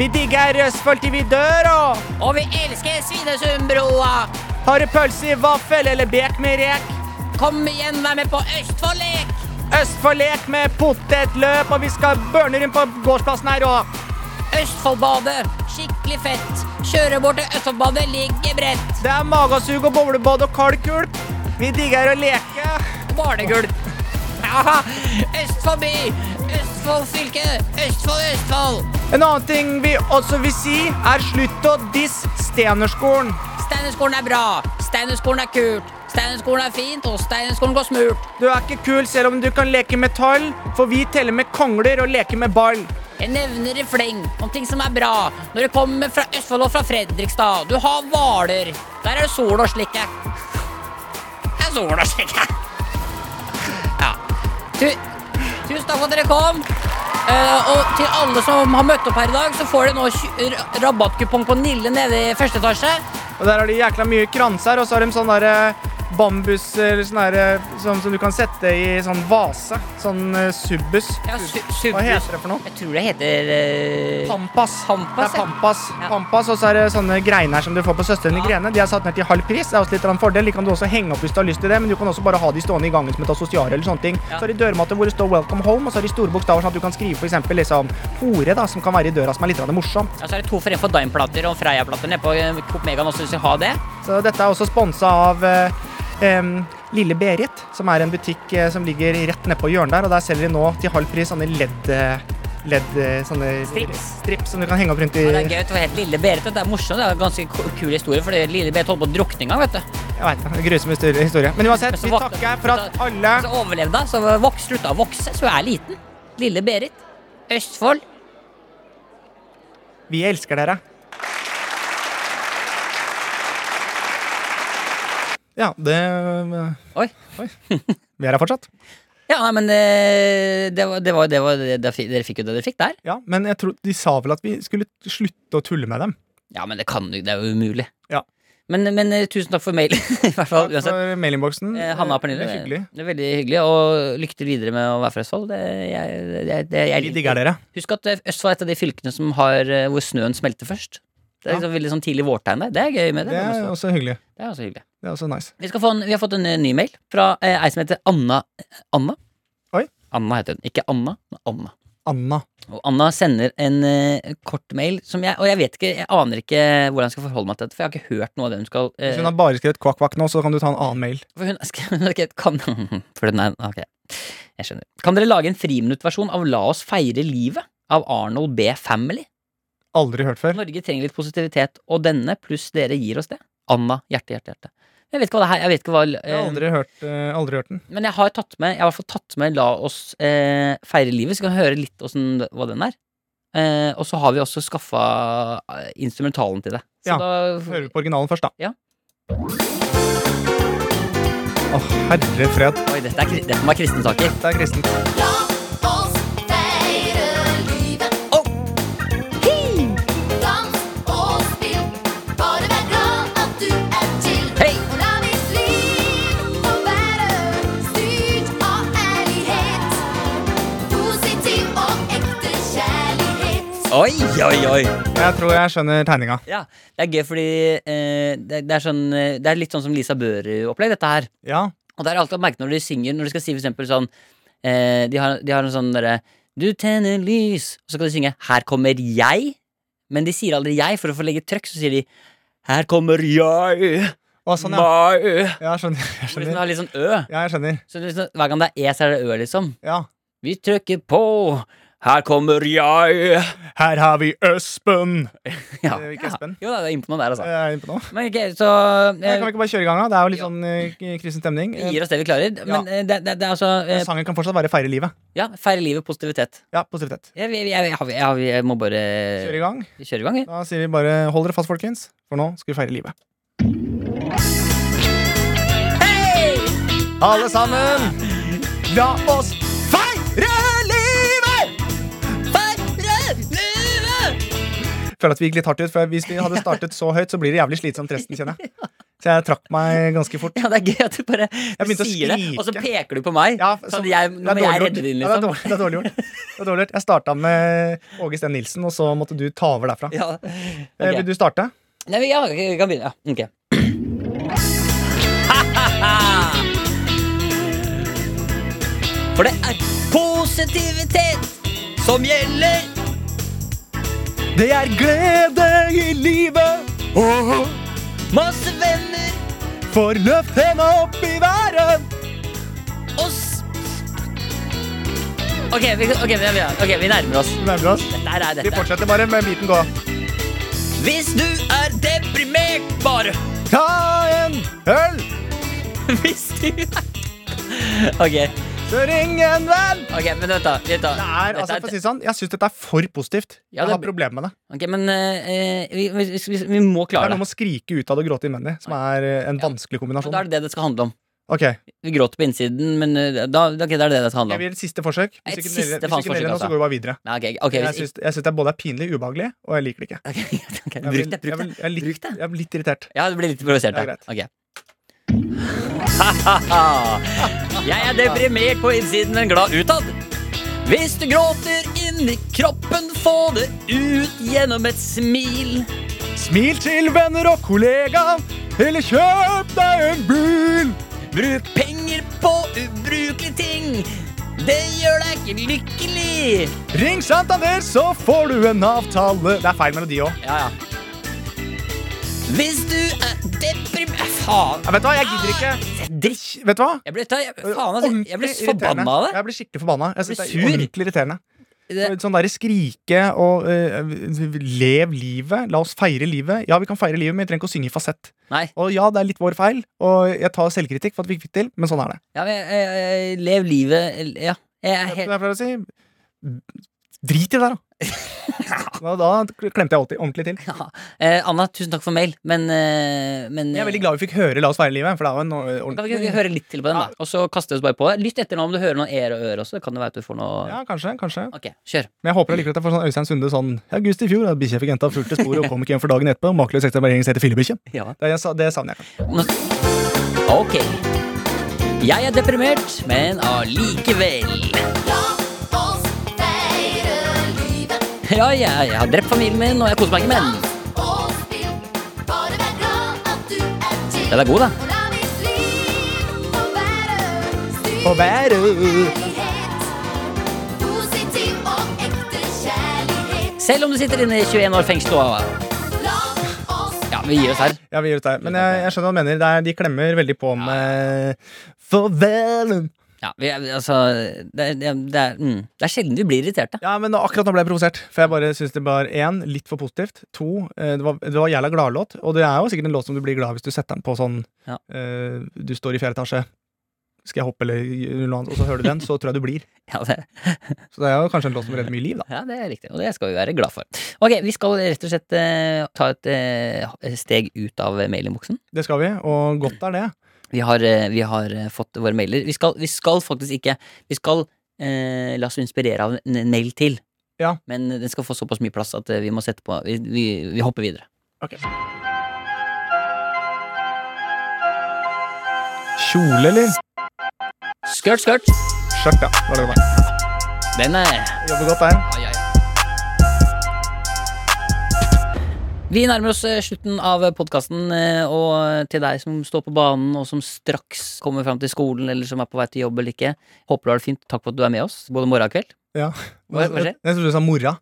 Vi digger Østfold til vi dør, og Og vi elsker Svinesundbroa! har du pølse i vaffel eller bek med rek? Kom igjen, vær med på Østfoldlek! Østfoldlek med potetløp, og vi skal burne rundt på gårdsplassen her og Østfoldbadet, skikkelig fett. Kjøre bort til Østfoldbadet, ligge bredt. Det er magesug og boblebad og kalkulp. Vi digger å leke. Barnegulv. Haha, Østfold by, Østfold fylke, Østfold, Østfold. En annen ting vi også vil si, er slutt å disse Stenerskolen. Steinerskolen er bra, Steinerskolen er kult, Steinerskolen er fint, og Steinerskolen går smurt. Du er ikke kul selv om du kan leke metall, for vi teller med kongler og leker med ball. Jeg nevner i fleng om ting som er bra når det kommer fra Østfold og fra Fredrikstad. Du har Hvaler. Der er det sol og slikke. Det er sol og slikke. Ja. Tu Tusen takk for at dere kom. Eh, og til alle som har møtt opp her i dag, så får dere nå tju- r- rabattkupong på Nille nede i første etasje. Og der har de jækla mye kranser, og så har de sånn derre bambus eller sånn derre sånn som du kan sette i sånn vase. Sånn eh, subbus. Ja, su su Hva heter det for noe? Jeg tror det heter eh, Pampas. Pampas, ja. det er pampas. Ja. pampas og så er det sånne greiner som du får på Søstrene Grene. De er satt ned til halv pris. Det er også litt av en fordel. De kan du også henge opp hvis du har lyst til det, men du kan også bare ha de stående i gangen som et assosiar eller sånne ting. Så har de dørmatter hvor det står 'Welcome Home', og så har de store bokstaver sånn at du kan skrive f.eks. liksom 'hore', da, som kan være i døra, som er litt grann morsom. ja, så altså er det to for en for Dime-plater og Freia-plater nede på eh, Coop Megan også, hvis du vil ha det. Så dette er også sponsa av eh, em, Lille Berit, som er en butikk eh, som ligger rett nedpå hjørnet der. Og der selger de nå til halv pris sånne ledd... eh, Ledd eh, sånne Strips. strips som du kan henge opp rundt i Ja, Det er gøy, det var helt Lille Berit, vet du. det er morsomt, det er en ganske ko- kul historie, for Lille Berit holdt på å drukne en gang, vet du. Jeg vet det. Grusom histori- historie. Men uansett, Men så vi våkna- takker for at alle Så overlevde hun, så vok- slutta å vokse, så hun er liten. Lille Berit. Østfold. Vi elsker dere. Ja, det Oi. Vi er her fortsatt. Ja, nei, men eh, det var, det var, det var det, det, fi- Dere fikk jo det dere fikk der. Ja, Men jeg tror de sa vel at vi skulle slutte å tulle med dem. Ja, men det kan du Det er jo umulig. Ja. Men, men eh, tusen takk for mailen, i hvert fall. Takk Uansett. for mailinnboksen. Eh, Hanna og Pernille, Det er hyggelig. det er veldig hyggelig. Og lykke til videre med å være fra Østfold. Det, jeg, jeg, det, jeg Vi liker- digger dere. Husk at eh, Østfold er et av de fylkene som har, eh, hvor snøen smelter først. Det er Ja. liksom veldig sånn tidlig vårtegn der. Det er gøy med det. Det med er Østfold. også hyggelig. Det er også hyggelig. Det er også nice. Vi, skal få en, vi har fått en eh, ny mail fra eh, ei som heter Anna. eh, Anna? Oi. Anna heter hun. Ikke Anna, men Anna. Anna. Og Anna sender en eh, kort mail, som jeg, og jeg vet ikke, jeg aner ikke hvordan jeg skal forholde meg til dette, for jeg har ikke hørt noe av det hun skal eh, Hvis hun har bare skrevet kvakk kvakk nå, så kan du ta en annen mail. For hun har skrevet ok, kan, for den er, ok, jeg skjønner. Kan dere lage en friminuttversjon av La oss feire livet? Av Arnold B. Family? Aldri hørt før. Norge trenger litt positivitet, og denne pluss dere gir oss det. Anna, hjerte, hjerte, hjerte. Jeg vet ikke hva det her Jeg vet ikke hva Jeg har eh, aldri hørt, eh, aldri hørt den. Men jeg har tatt med Jeg har i hvert fall tatt med La oss eh, feire livet, så kan vi høre litt åssen- hva den er. Eh, og så har vi også skaffa eh, instrumentalen til det. Så Ja, da Hører vi på originalen først, da. Ja. Å, herre fred. Oi, dette, er, kri- dette var kristensaker. Det er kristent. La oss feire livet. Oh. Dans og spill. Bare vær glad at du er til. Hei. Og la ditt liv få være styrt av ærlighet. Positiv og ekte kjærlighet. Oi, oi, oi! Jeg tror jeg skjønner tegninga. Ja, Det er gøy, fordi eh, det, det, er sånn, eh, det er litt sånn som Lisa Børu-opplegg, dette her. Ja. Og det er alltid å merke når de synger, når de skal si for eksempel sånn eh, de, har, de har en sånn derre Du tenner lys, og så skal de synge Her kommer jeg. Men de sier aldri jeg, for å få legge trøkk, så sier de Her kommer jeg, Å, sånn, ja. meg. Hvor Ja, jeg skjønner. Jeg liksom det skjønner. har litt sånn ø. Ja, jeg skjønner. Så det er sånn- hver gang det er e, så er det ø, liksom. Ja. Vi trykker på. Her kommer jeg. Her har vi Øspen. Ja. Det er ikke Espen. Jo da, det er innpå noe der, altså. Jeg er inne på noe. Men ok, så Ja, eh, Kan vi ikke bare kjøre i gang, da? Det er jo litt Ja. sånn eh, kristen stemning. vi Eh, gir oss det vi klarer. Men eh, det, det, det er altså eh, Sangen kan fortsatt være 'Feire livet'. Ja, feire livet, positivitet. Ja, positivitet. Jeg, jeg, jeg, jeg, jeg, jeg må bare Kjør i gang. kjøre i gang, jeg. Da sier vi bare 'hold dere fast, folkens', for nå skal vi feire livet. Alle sammen, la oss feire livet! Føler at vi gikk litt hardt ut, for hvis vi hadde startet så høyt, så blir det jævlig slitsomt resten, kjenner jeg. Så jeg trakk meg ganske fort. Ja, det er gøy at du bare du begynte å sier det, og så skrike. peker du på meg. Ja, sånn som- at jeg, nå må jeg gjort. redde din, Ja, det, er liksom. dårlig, det er dårlig gjort. Det er dårlig gjort. Jeg starta med Åge Steen Nilsen, og så måtte du ta over derfra. Ja, Eh, Vil ok. du starte? Nei, men ja, vi kan begynne. Ja, ok. For det er positivitet som gjelder. Det er glede i livet. Åh, Masse venner for løft henne opp i været. og s- Ok, vi, ok, vi, vi, ok, vi nærmer oss. Vi nærmer oss. Der er Vi dette. fortsetter bare med biten gå. Hvis du er deprimert, bare Ta en øl, Hvis du er Ok, så ring en venn. ok, men vent, da. Vent da. Det er, Dette altså, er- for å si det sånn, jeg syns dette er for positivt. Ja, Jeg det- har problemer med det. Ok, men eh, vi, vi, vi, vi må Det er klare noe det. med å skrike ut av det og gråte innvendig som er eh, en vanskelig Og kombinasjon. Da er det det det skal handle om. Ok, Vi gråter på innsiden, men eh, da, ok, da er det det det skal handle Jeg om. vil et siste forsøk. Et Hvis ikke siste det hvis ikke faen forsøk, det gjelder nå, så går vi bare videre. Nei, ok, ok, Jeg hvis syns jeg syns det er både er pinlig, ubehagelig, og jeg liker det ikke. Ok, ok, Jeg Bruk det, bruk vil- jeg det. vil- jeg er litt- Bruk det. Jeg blir litt irritert. Ja, du blir litt provosert. Det er Ja. Ok. Jeg er deprimert på innsiden, men glad utad. Hvis du gråter inni kroppen, få det ut gjennom et smil. Smil til venner og kollega, eller kjøp deg en bil. Bruk penger på ubrukelige ting. Det gjør deg ikke lykkelig. Ring Santander, så får du en avtale. Det er feil melodi òg. Ja, ja. Hvis du er deprimert Faen. Vet du hva, jeg gidder ikke. Ah, Dritt. Vet du hva? Jeg blir, jeg, faen, altså, jeg blir Ordentlig så forbanna irriterende. av det. Jeg blir skikkelig forbanna. Jeg blir synes det sur. er ordentlig irriterende. Det- Sånn derre skrike og eh, lev livet. La oss feire livet. Ja, vi kan feire livet, men vi trenger ikke å synge i fasett. Nei. Og ja, det er litt vår feil, og jeg tar selvkritikk for at vi ikke fikk til, men sånn er det. Ja, men jeg, jeg, jeg, lev livet Ja. Jeg er Det helt er for å si Drit i det, da. Og da klemte jeg alltid ordentlig til. ja. eh, Anna, tusen takk for mail, men, eh, men Jeg er veldig glad vi fikk høre La oss feire livet, for det er jo en Kan eh, vi ordentlig ikke høre litt til på den, da? Og så kaster vi oss bare på. Lytt etter nå om du hører noe ere og øre også. Det kan jo være at du får noe Ja, kanskje, kanskje. Ok, kjør. Men jeg håper allikevel at jeg får sånn Øystein Sunde sånn I august i fjor hadde bikkja fikk jenta fulgt til sporet og kom ikke hjem for dagen etterpå. Makeløs ekstremering heter fillebikkje. Ja. Det, er- det savner jeg. Ok. Jeg er deprimert, men allikevel. La oss feire livet. Ja, jeg, jeg har drept familien min, og jeg koser meg ikke med den. Og spill. Bare vær glad at du er til. Den er god, da. Og la mitt liv få være styrt Få være. av kjærlighet. Positiv og ekte kjærlighet. Selv om du sitter inne i 21 år fengsel og La oss Ja, vi gir oss her. Ja, vi gjør det. Men jeg, jeg skjønner hva du mener. Det er, de klemmer veldig på med Farvel! Ja, vi, er- altså Det, er- det, er- det, er, mm, det er sjelden vi blir irriterte. Ja, men nå- akkurat nå ble jeg provosert. For jeg bare syns det var én, litt for positivt. To, eh, det var, det var jævla gladlåt. Og det er jo sikkert en låt som du blir glad hvis du setter den på sånn Ja. eh, Du står i fjerde etasje, skal jeg hoppe eller gjøre noe annet, og så hører du den, så tror jeg du blir. Ja, det, Så det er jo kanskje en låt som redder mye liv, da. Ja, det er riktig, og det skal vi være glad for. Ok, Vi skal rett og slett eh, ta et eh, steg ut av mailinnboksen. Det skal vi, og godt er det. Vi, har, eh, vi har eh, fått våre mailer. Vi skal, vi skal faktisk ikke Vi skal eh, la oss inspirere av en en mail til. Ja. Men den skal få såpass mye plass at eh, vi må sette på Vi, vi, vi hopper videre. Kjole, eller? Skørt, skørt! Skjørt, ja. Var det det var. Den er Jobber godt der. Ai, ai, ai. Vi nærmer oss eh, slutten av podkasten, og eh, til deg som står på banen, og som straks kommer fram til skolen, eller som er på vei til jobb eller ikke, håper du har det fint. Takk for at du er med oss, både morgen og kveld. Ja. Hva, hva skjer? Jeg trodde du sa mora.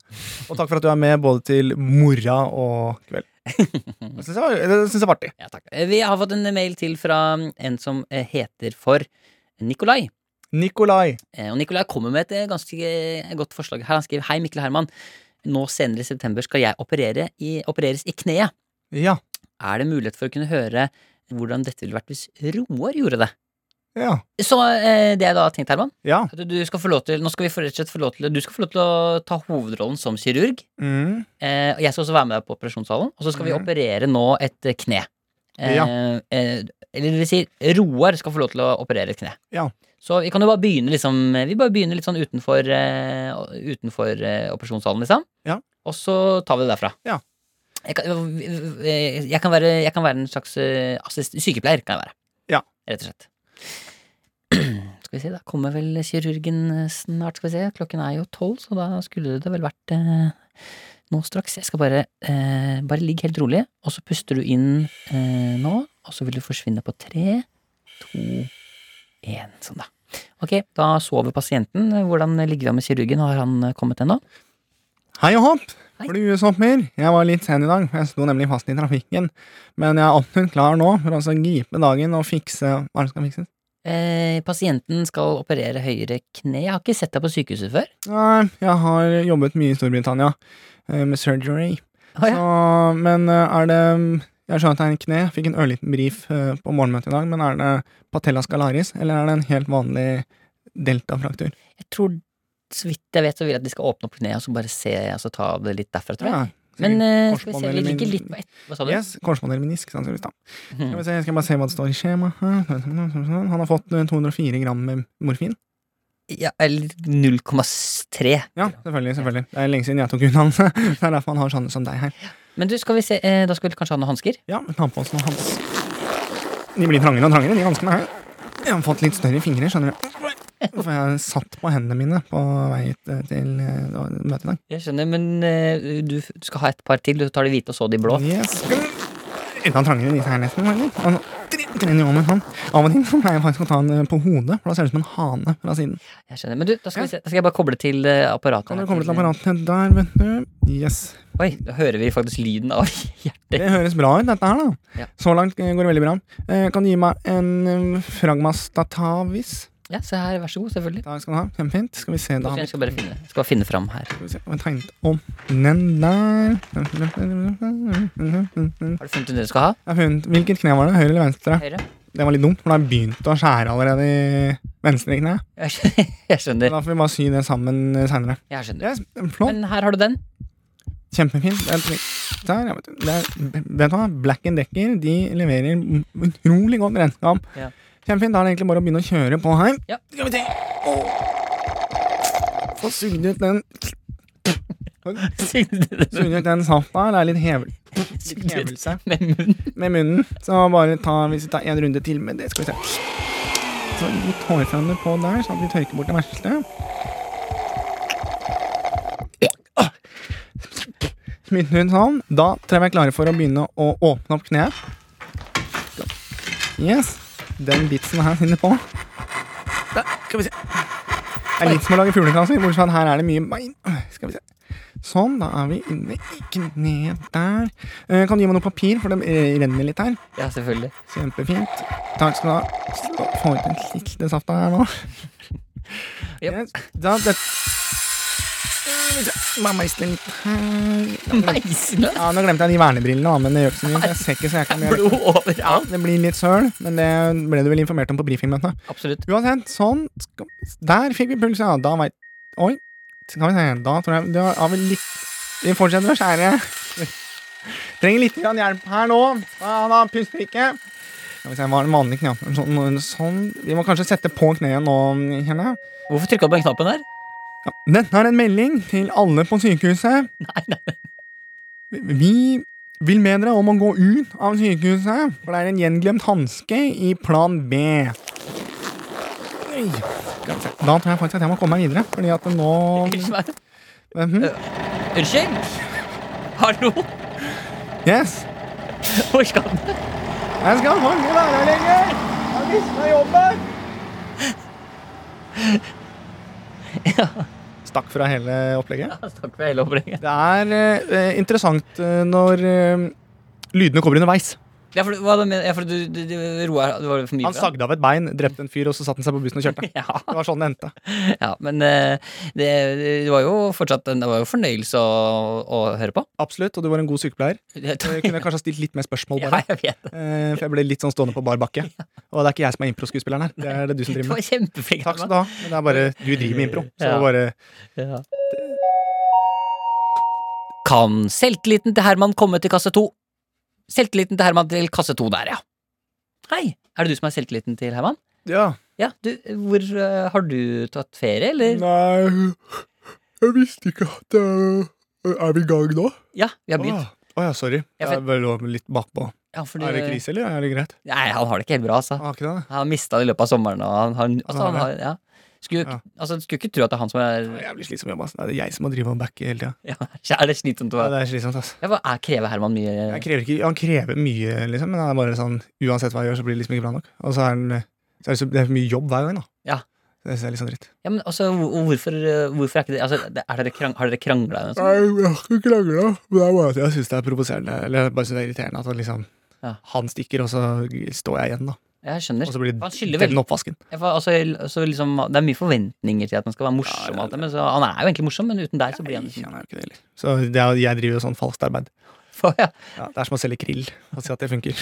Og takk for at du er med både til mora og kveld. Det syns jeg, var- det synes jeg var artig. Ja, takk. Eh, Vi har fått en mail til fra en som eh, heter for Nikolai. Nikolai. Eh, Og Nikolai kommer med et eh, ganske eh, godt forslag her. Han skriver Hei, Mikkel og Herman. Nå senere i september skal jeg operere i, opereres i kneet. Ja. Er det mulighet for å kunne høre hvordan dette ville vært hvis Roar gjorde det? Ja. Så eh, det jeg da har tenkt, Herman Ja. at du skal få lov til, Nå skal vi få- rett og slett få lov til Du skal få lov til å ta hovedrollen som kirurg. Mm. Eh, og jeg skal også være med deg på operasjonssalen. Og så skal vi Mhm. operere nå et eh, kne. Eh, Ja. eh, eller det vil si, Roar skal få lov til å operere et kne. Ja. Så vi kan jo bare begynne liksom Vi bare begynner litt sånn utenfor, eh, utenfor eh, operasjonssalen, liksom. Ja. Og så tar vi det derfra. Ja. Jeg kan, eh, jeg kan, være, jeg kan være en slags eh, assist, sykepleier, kan jeg være. Ja. Rett og slett. Skal vi se, da kommer vel kirurgen eh, snart, skal vi se. Klokken er jo tolv, så da skulle det vel vært eh, nå straks. Jeg skal bare, eh, bare ligge helt rolig, og så puster du inn eh, nå, og så vil du forsvinne på tre, to, én. Sånn, da. Ok, da sover pasienten. Hvordan ligger det an med kirurgen? Har han eh, kommet ennå? Hei og hopp! Fluesopper! Jeg var litt sen i dag, for jeg sto nemlig fast i trafikken. Men jeg er absolutt klar nå for å så gripe dagen og fikse Hva er det som skal fikses? Eh, pasienten skal operere høyre kne. Jeg har ikke sett deg på sykehuset før. Nei, jeg har jobbet mye i Storbritannia eh, med surgery. Å, ja. Så, men eh, er det Jeg skjønner at det er en kne. Jeg fikk en ørliten brief eh, på morgenmøtet i dag, men er det patella scalaris, eller er det en helt vanlig deltafraktur? Jeg tror, så vidt jeg vet, så vil jeg at de skal åpne opp kneet og så bare se, altså ta det litt derfra, tror jeg. Men eh, skal vi se, det ligger litt på ett. Hva sa du? Yes, korsbåndel menisk, sannsynligvis. da. Mhm. Skal vi se, jeg skal bare se hva det står i skjemaet. her. Han har fått eh, 204 gram med morfin. Ja, eller 0,3. Ja, selvfølgelig. selvfølgelig. Det er lenge siden jeg tok utdannelse. Det er derfor han har sånne som deg her. Men du, skal vi se, eh, da skal vi kanskje ha noen hansker? Ja, vi tar på oss noen hans. De blir trangere og trangere, de hanskene her. Jeg har fått litt større fingre, skjønner du. For jeg satt på hendene mine på vei til, til eh, det var møtet i dag. Jeg skjønner, men eh, du, f- du skal ha et par til. Du tar de hvite og så de blå. Yes. Enda trangere disse her nesten. eller? Og tre- Trener jo om en hånd. Av og til så pleier jeg faktisk å ta den eh, på hodet, for da ser det ut som en hane fra siden. Jeg skjønner, Men du, da skal, vi se, da skal jeg bare koble til eh, apparatet. Kan her dere komme til til- apparatet der, vet du? Yes. Oi, da hører vi faktisk lyden av hjertet. Det høres bra ut, dette her, da. Ja. Så langt eh, går det veldig bra. Eh, Kan du gi meg en eh, fragmastatavis? Ja, se her, vær så god, selvfølgelig. Da skal du ha. Kjempefint. Skal vi se, da. har vi- Jeg skal bare finne, skal bare finne fram her. Skal vi se, og jeg tegnet om den der Jeg Har du funnet ut det du skal ha? har funnet, Hvilket kne var det? Høyre eller venstre? Høyre? Det var litt dumt, for da har jeg begynt å skjære allerede i venstre kne. Jeg skjønner. Jeg Men skjønner. Da får vi bare sy det sammen eh, seinere. Jeg skjønner. Yes, flott. Men her har du den. Kjempefint. Det er tre- Der, ja, vet du. Det er, vet du hva? Black and Decker de leverer utrolig godt regnskap. Ja. Kjempefint. Da er det egentlig bare å begynne å kjøre på her. Ja. Skal vi se. Åh. Få sugd ut den Sugd ut den safta. Det er litt hevel... Litt hevelse. Med munnen. med munnen. Så bare ta, hvis vi tar en runde til med det, skal vi se. Så litt hårføner på der, sånn at vi tørker bort det verste. Smyt den ut sånn. Da tror jeg vi er klare for å begynne å åpne opp kneet. Yes. Den bitsen her sitter på. Der, skal vi se. Det er litt som å lage fuglekasser, bortsett fra at her er det mye bein. Skal vi se. Sånn, da er vi inne i kneet der. Eh, Kan du gi meg noe papir, for det eh, renner litt her. Ja, selvfølgelig. Kjempefint. Takk skal du ha. Skal Få ut den siste safta her nå. Jep. Yes. Da, det... Bare meisle litt her. Meisende. Ja, nå glemte jeg de vernebrillene, da, men det gjør ikke så mye. for Jeg ser ikke så jeg kan gjøre det. Blod overalt. Det blir litt søl, men det ble du vel informert om på brifingmøtet. Absolutt. Uansett, sånn. Skal- Der fikk vi puls, ja. Da veit Oi. Skal vi se, da tror jeg Da har vi litt Vi fortsetter å skjære. Trenger litt grann hjelp her nå. Ja da, puster ikke. Skal vi se, hva er den vanlige knappen? Sånn, sånn. Vi må kanskje sette på kneet nå, kjenner jeg. Hvorfor trykka du på den knappen der? Ja. Dette er en melding til alle på sykehuset. Nei, nei. Vi vil med dere om å gå ut av sykehuset, for det er en gjenglemt hanske i plan B. Oi. Skal vi se. Da tror jeg faktisk at jeg må komme meg videre, fordi at nå Mhm. Unnskyld? Hallo? Yes. Hvor skal du? Jeg skal fange deg lenger! Jeg mista jobben! Stakk fra hele opplegget. Takk for hele opplegget. Det er eh, interessant eh, når eh, lydene kommer underveis. Ja, for, du- hva, du mener- ja, for du, du, du Roar, det var for mye Han sagde av et bein, drepte en fyr, og så satte han seg på bussen og kjørte. Ja, Det var sånn det endte. ja, men eh, det, det var jo fortsatt en det var jo fornøyelse å, å høre på. Absolutt, og du var en god sykepleier. Det- Jeg kunne kanskje ha stilt litt mer spørsmål, Ja, bare. jeg vet det. Eh, For jeg ble litt sånn stående på bar bakke. Og det er ikke jeg som er impro-skuespilleren her. Det er det du som Du driver var med. kjempeflink. Takk skal du ha. Men det er bare du driver med impro. Så Ja. bare Ja. Kan selvtilliten til Herman komme til kasse to? Selvtilliten til Herman til kasse to der, ja. Hei, er det du som er selvtilliten til Herman? Ja. Ja, du, hvor eh, har du tatt ferie, eller? Nei, jeg visste ikke at eh, Er vi i gang nå? Ja, vi har begynt. Å ja, sorry. Ja, Jeg for- er vel litt bakpå. Ja, for du- Er det krise, eller er det greit? Nei, han har det ikke helt bra, altså. Har ikke det? Han har mista det i løpet av sommeren, og han har, altså, Han han har har ja. Skulle, sånn, Ja. altså, skulle ikke tro at det er han som er Det er Jævlig slitsom jobb, ass. Det er det jeg som må drive og backe hele tida. ja, Er det slitsomt å Ja, være det er slitsomt, ass. ja, hva er- Krever Herman mye Jeg krever ikke, han krever mye, liksom, men det er bare sånn, uansett hva jeg gjør, så blir det liksom ikke bra nok. Og så er han, så er det, så, det er for mye jobb hver gang, da. Ja. Det ser litt sånn dritt. Ja, men altså, hvor- hvorfor, eh, hvorfor er ikke det altså, det- er dere krang, Har dere krangla eller noe sånt? Nei, jeg har ikke krangla. Det er bare at jeg syns det er provoserende. Eller jeg bare synes det er irriterende at han liksom Ja. Han stikker, og så står jeg igjen, da. Jeg skjønner. Og så blir Han det skylder den vel oppvasken. Ja, for, altså, altså, liksom, Det er mye forventninger til at han skal være morsom. og alt det, men så, han er jo egentlig morsom, men uten deg så blir han liksom- Nei, han er jo ikke det heller. Så det er, jeg driver jo sånn falskt arbeid. for, ja, Ja, det er som å selge krill og si at det funker.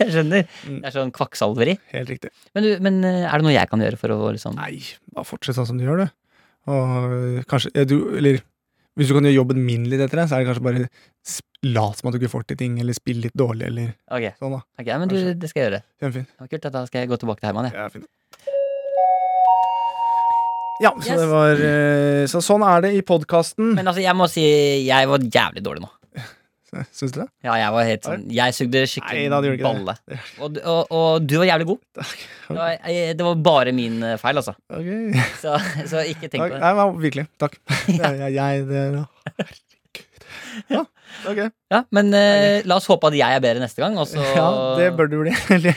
Jeg skjønner. Mm. Det er sånn kvakksalveri. Helt riktig. Men, du, men eh, er det noe jeg kan gjøre for å liksom Nei, bare fortsett sånn som du gjør, du. Og øh, kanskje ja, du, Eller hvis du kan gjøre jobben min litt etter det, så er det kanskje bare sp- lat som at du ikke får til ting, eller spill litt dårlig, eller Ok, sånn, da. ok, men du, Kanskje. det skal jeg gjøre. Kjempefint. Det var kult, Da skal jeg gå tilbake til Herman. Jeg. Ja, fint. Ja, så Yes. det var øh, Så sånn er det i podkasten. Men altså, jeg må si jeg var jævlig dårlig nå. Syns du det? Ja, jeg var helt sånn Jeg sugde skikkelig Nei, da, du gjorde ikke det. balle. Og, du- og, og du var jævlig god. Det var, eh, det var bare min eh, feil, altså. Ok. Så, så ikke tenk Takk. på det. Nei, nei, virkelig. Takk. Jeg, jeg, jeg det, ja. Herregud. Ja, ok. Ja, men eh, la oss håpe at jeg er bedre neste gang, og så Ja, det bør du bli. Eller,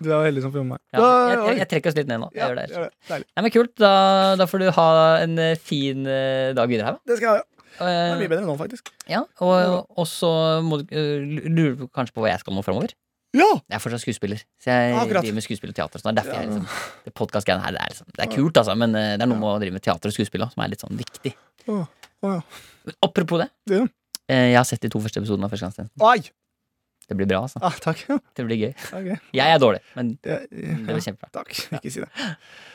du er jo heldig som får med meg. Ja, jeg, jeg, Oi. jeg trekker oss litt ned nå. Jeg Ja, gjør det. gjør det. Deilig. Nei, men Kult. Da, da får du ha en eh, fin eh, dag videre her, da. Det skal jeg ha. Det er Eh, mye bedre nå, faktisk. ja, og, og så må du eh, lurer du kanskje på hva jeg skal nå framover. Ja! Jeg er fortsatt skuespiller, så jeg Akkurat. driver med skuespill og teater. og sånn. Det er derfor jeg liksom, det podcastgreiene her, det er, liksom, det er kult, altså, men eh, det er noe med å drive med teater og skuespill også, som er litt sånn viktig. Åh, åh, Men apropos det. Ja. eh, Jeg har sett de to første episodene av Førstegangstjenesten. Oi! Det blir bra, altså. Ah, takk. Ja, Det blir gøy. ok. Jeg er dårlig, men Det, eh, det Mm. blir kjempebra. takk. Ikke si det.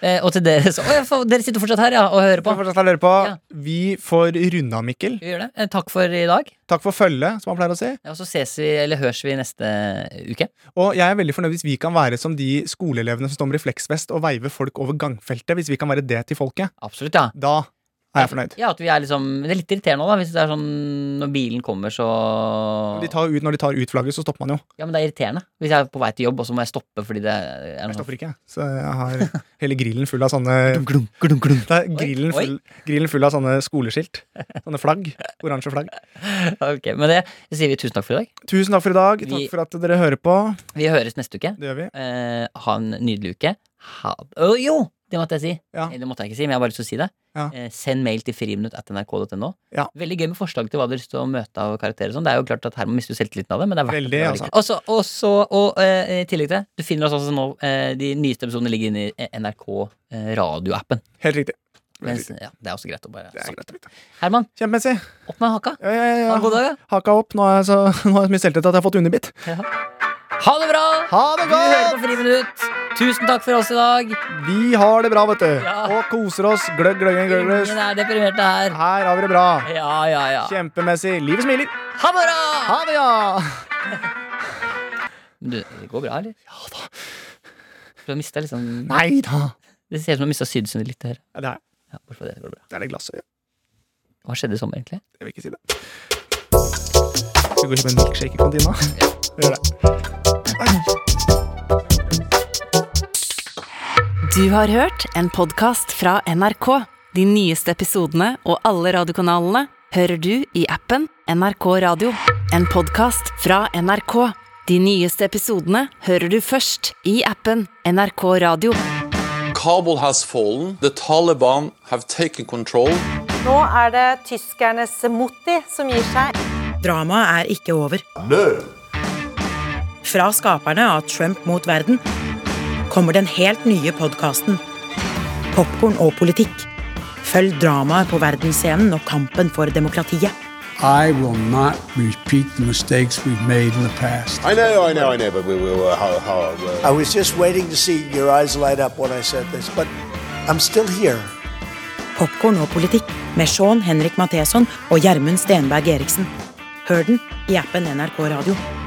Eh, og til dere så Å ja, faen, dere sitter fortsatt her, ja, og hører Vi på. får fortsatt høre på. Ja. Vi får runda, Mikkel. Vi gjør det. Eh, Takk for i dag. Takk for følget, som han pleier å si. Ja, og så ses vi, eller høres vi neste uke. Og jeg er veldig fornøyd hvis vi kan være som de skoleelevene som står med refleksvest og veiver folk over gangfeltet. Hvis vi kan være det til folket, Absolutt, ja. da er jeg fornøyd. Ja, at vi er liksom Det er litt irriterende òg, da, hvis det er sånn når bilen kommer, så De tar jo ut, når de tar ut flagget, så stopper man jo. Ja, men det er irriterende. Hvis jeg er på vei til jobb, og så må jeg stoppe fordi det er Jeg noe stopper ikke, jeg. så jeg har hele grillen full av sånne Det er grillen Oi, oi. full, grillen full av sånne skoleskilt. Sånne flagg. Oransje flagg. Ok, Men det sier vi tusen takk for i dag. Tusen takk for i dag. Takk Vi- for at dere hører på. Vi høres neste uke. Det gjør vi. Eh, ha en nydelig uke. Ha Å, Jo! Det måtte jeg si. Ja. Eller det måtte jeg ikke si, men jeg har bare lyst til å si det. Ja. Eh, send mail til friminutt.nrk.no. Ja. Veldig gøy med forslag til hva du har lyst til å møte av karakterer. og sånn. Det er jo klart at Herman mister jo selvtilliten av det, men det er verdt Veldig, altså. det. Og så, og, så, og eh, i tillegg til det, du finner oss altså nå eh, De nyeste episodene ligger inne i eh, NRK eh, radioappen. Helt riktig. Veldig Mens, ja, det er også greit å bare Det er sagt. greit å vite. Herman, Kjempemessig. opp med haka. Ja, ja, ja. Ha en god dag, Haka opp. Nå har jeg så, nå har jeg så mye selvtillit at jeg har fått underbitt. ja. Ha det bra! Ha det Du hører godt! på Friminutt. Tusen takk for oss i dag. Vi har det bra, vet du. Ja. Og koser oss. Gløgg, gløgg, gløgg. gløgg. Ingen er deprimerte her. Her har vi det bra. Ja, ja, ja. Kjempemessig. Livet smiler. Ha det bra! Ha det, ja! Men du, det går bra, eller? Ja da. Du har mistet liksom Nei da. Det ser ut som du har mista sydsiden litt her. Ja, Det er Ja, bortsett fra det, det går bra. det, er det glasset. Hva skjedde i sommer, egentlig? Jeg vil ikke si det. Skal vi gå og kjøpe en milkshake i kantina? Vi gjør det. Du har hørt en podkast fra NRK. De nyeste episodene og alle radiokanalene hører du i appen NRK Radio. En podkast fra NRK. De nyeste episodene hører du først i appen NRK Radio. Kabul has fallen. The Taliban have taken control. Nå er det tyskernes Motti som gir seg. Dramaet er ikke over. Fra skaperne av Trump mot verden kommer den helt nye podkasten Popkorn og politikk. Følg dramaet på verdensscenen og kampen for demokratiet. I will not repeat the mistakes we've made in the past. I know, I know, I know, but we will. How, I was just waiting to see your eyes light up when I said this, but I'm still here. Popkorn og politikk med Sean Henrik Matheson og Gjermund Stenberg Eriksen. Hør den i appen NRK Radio.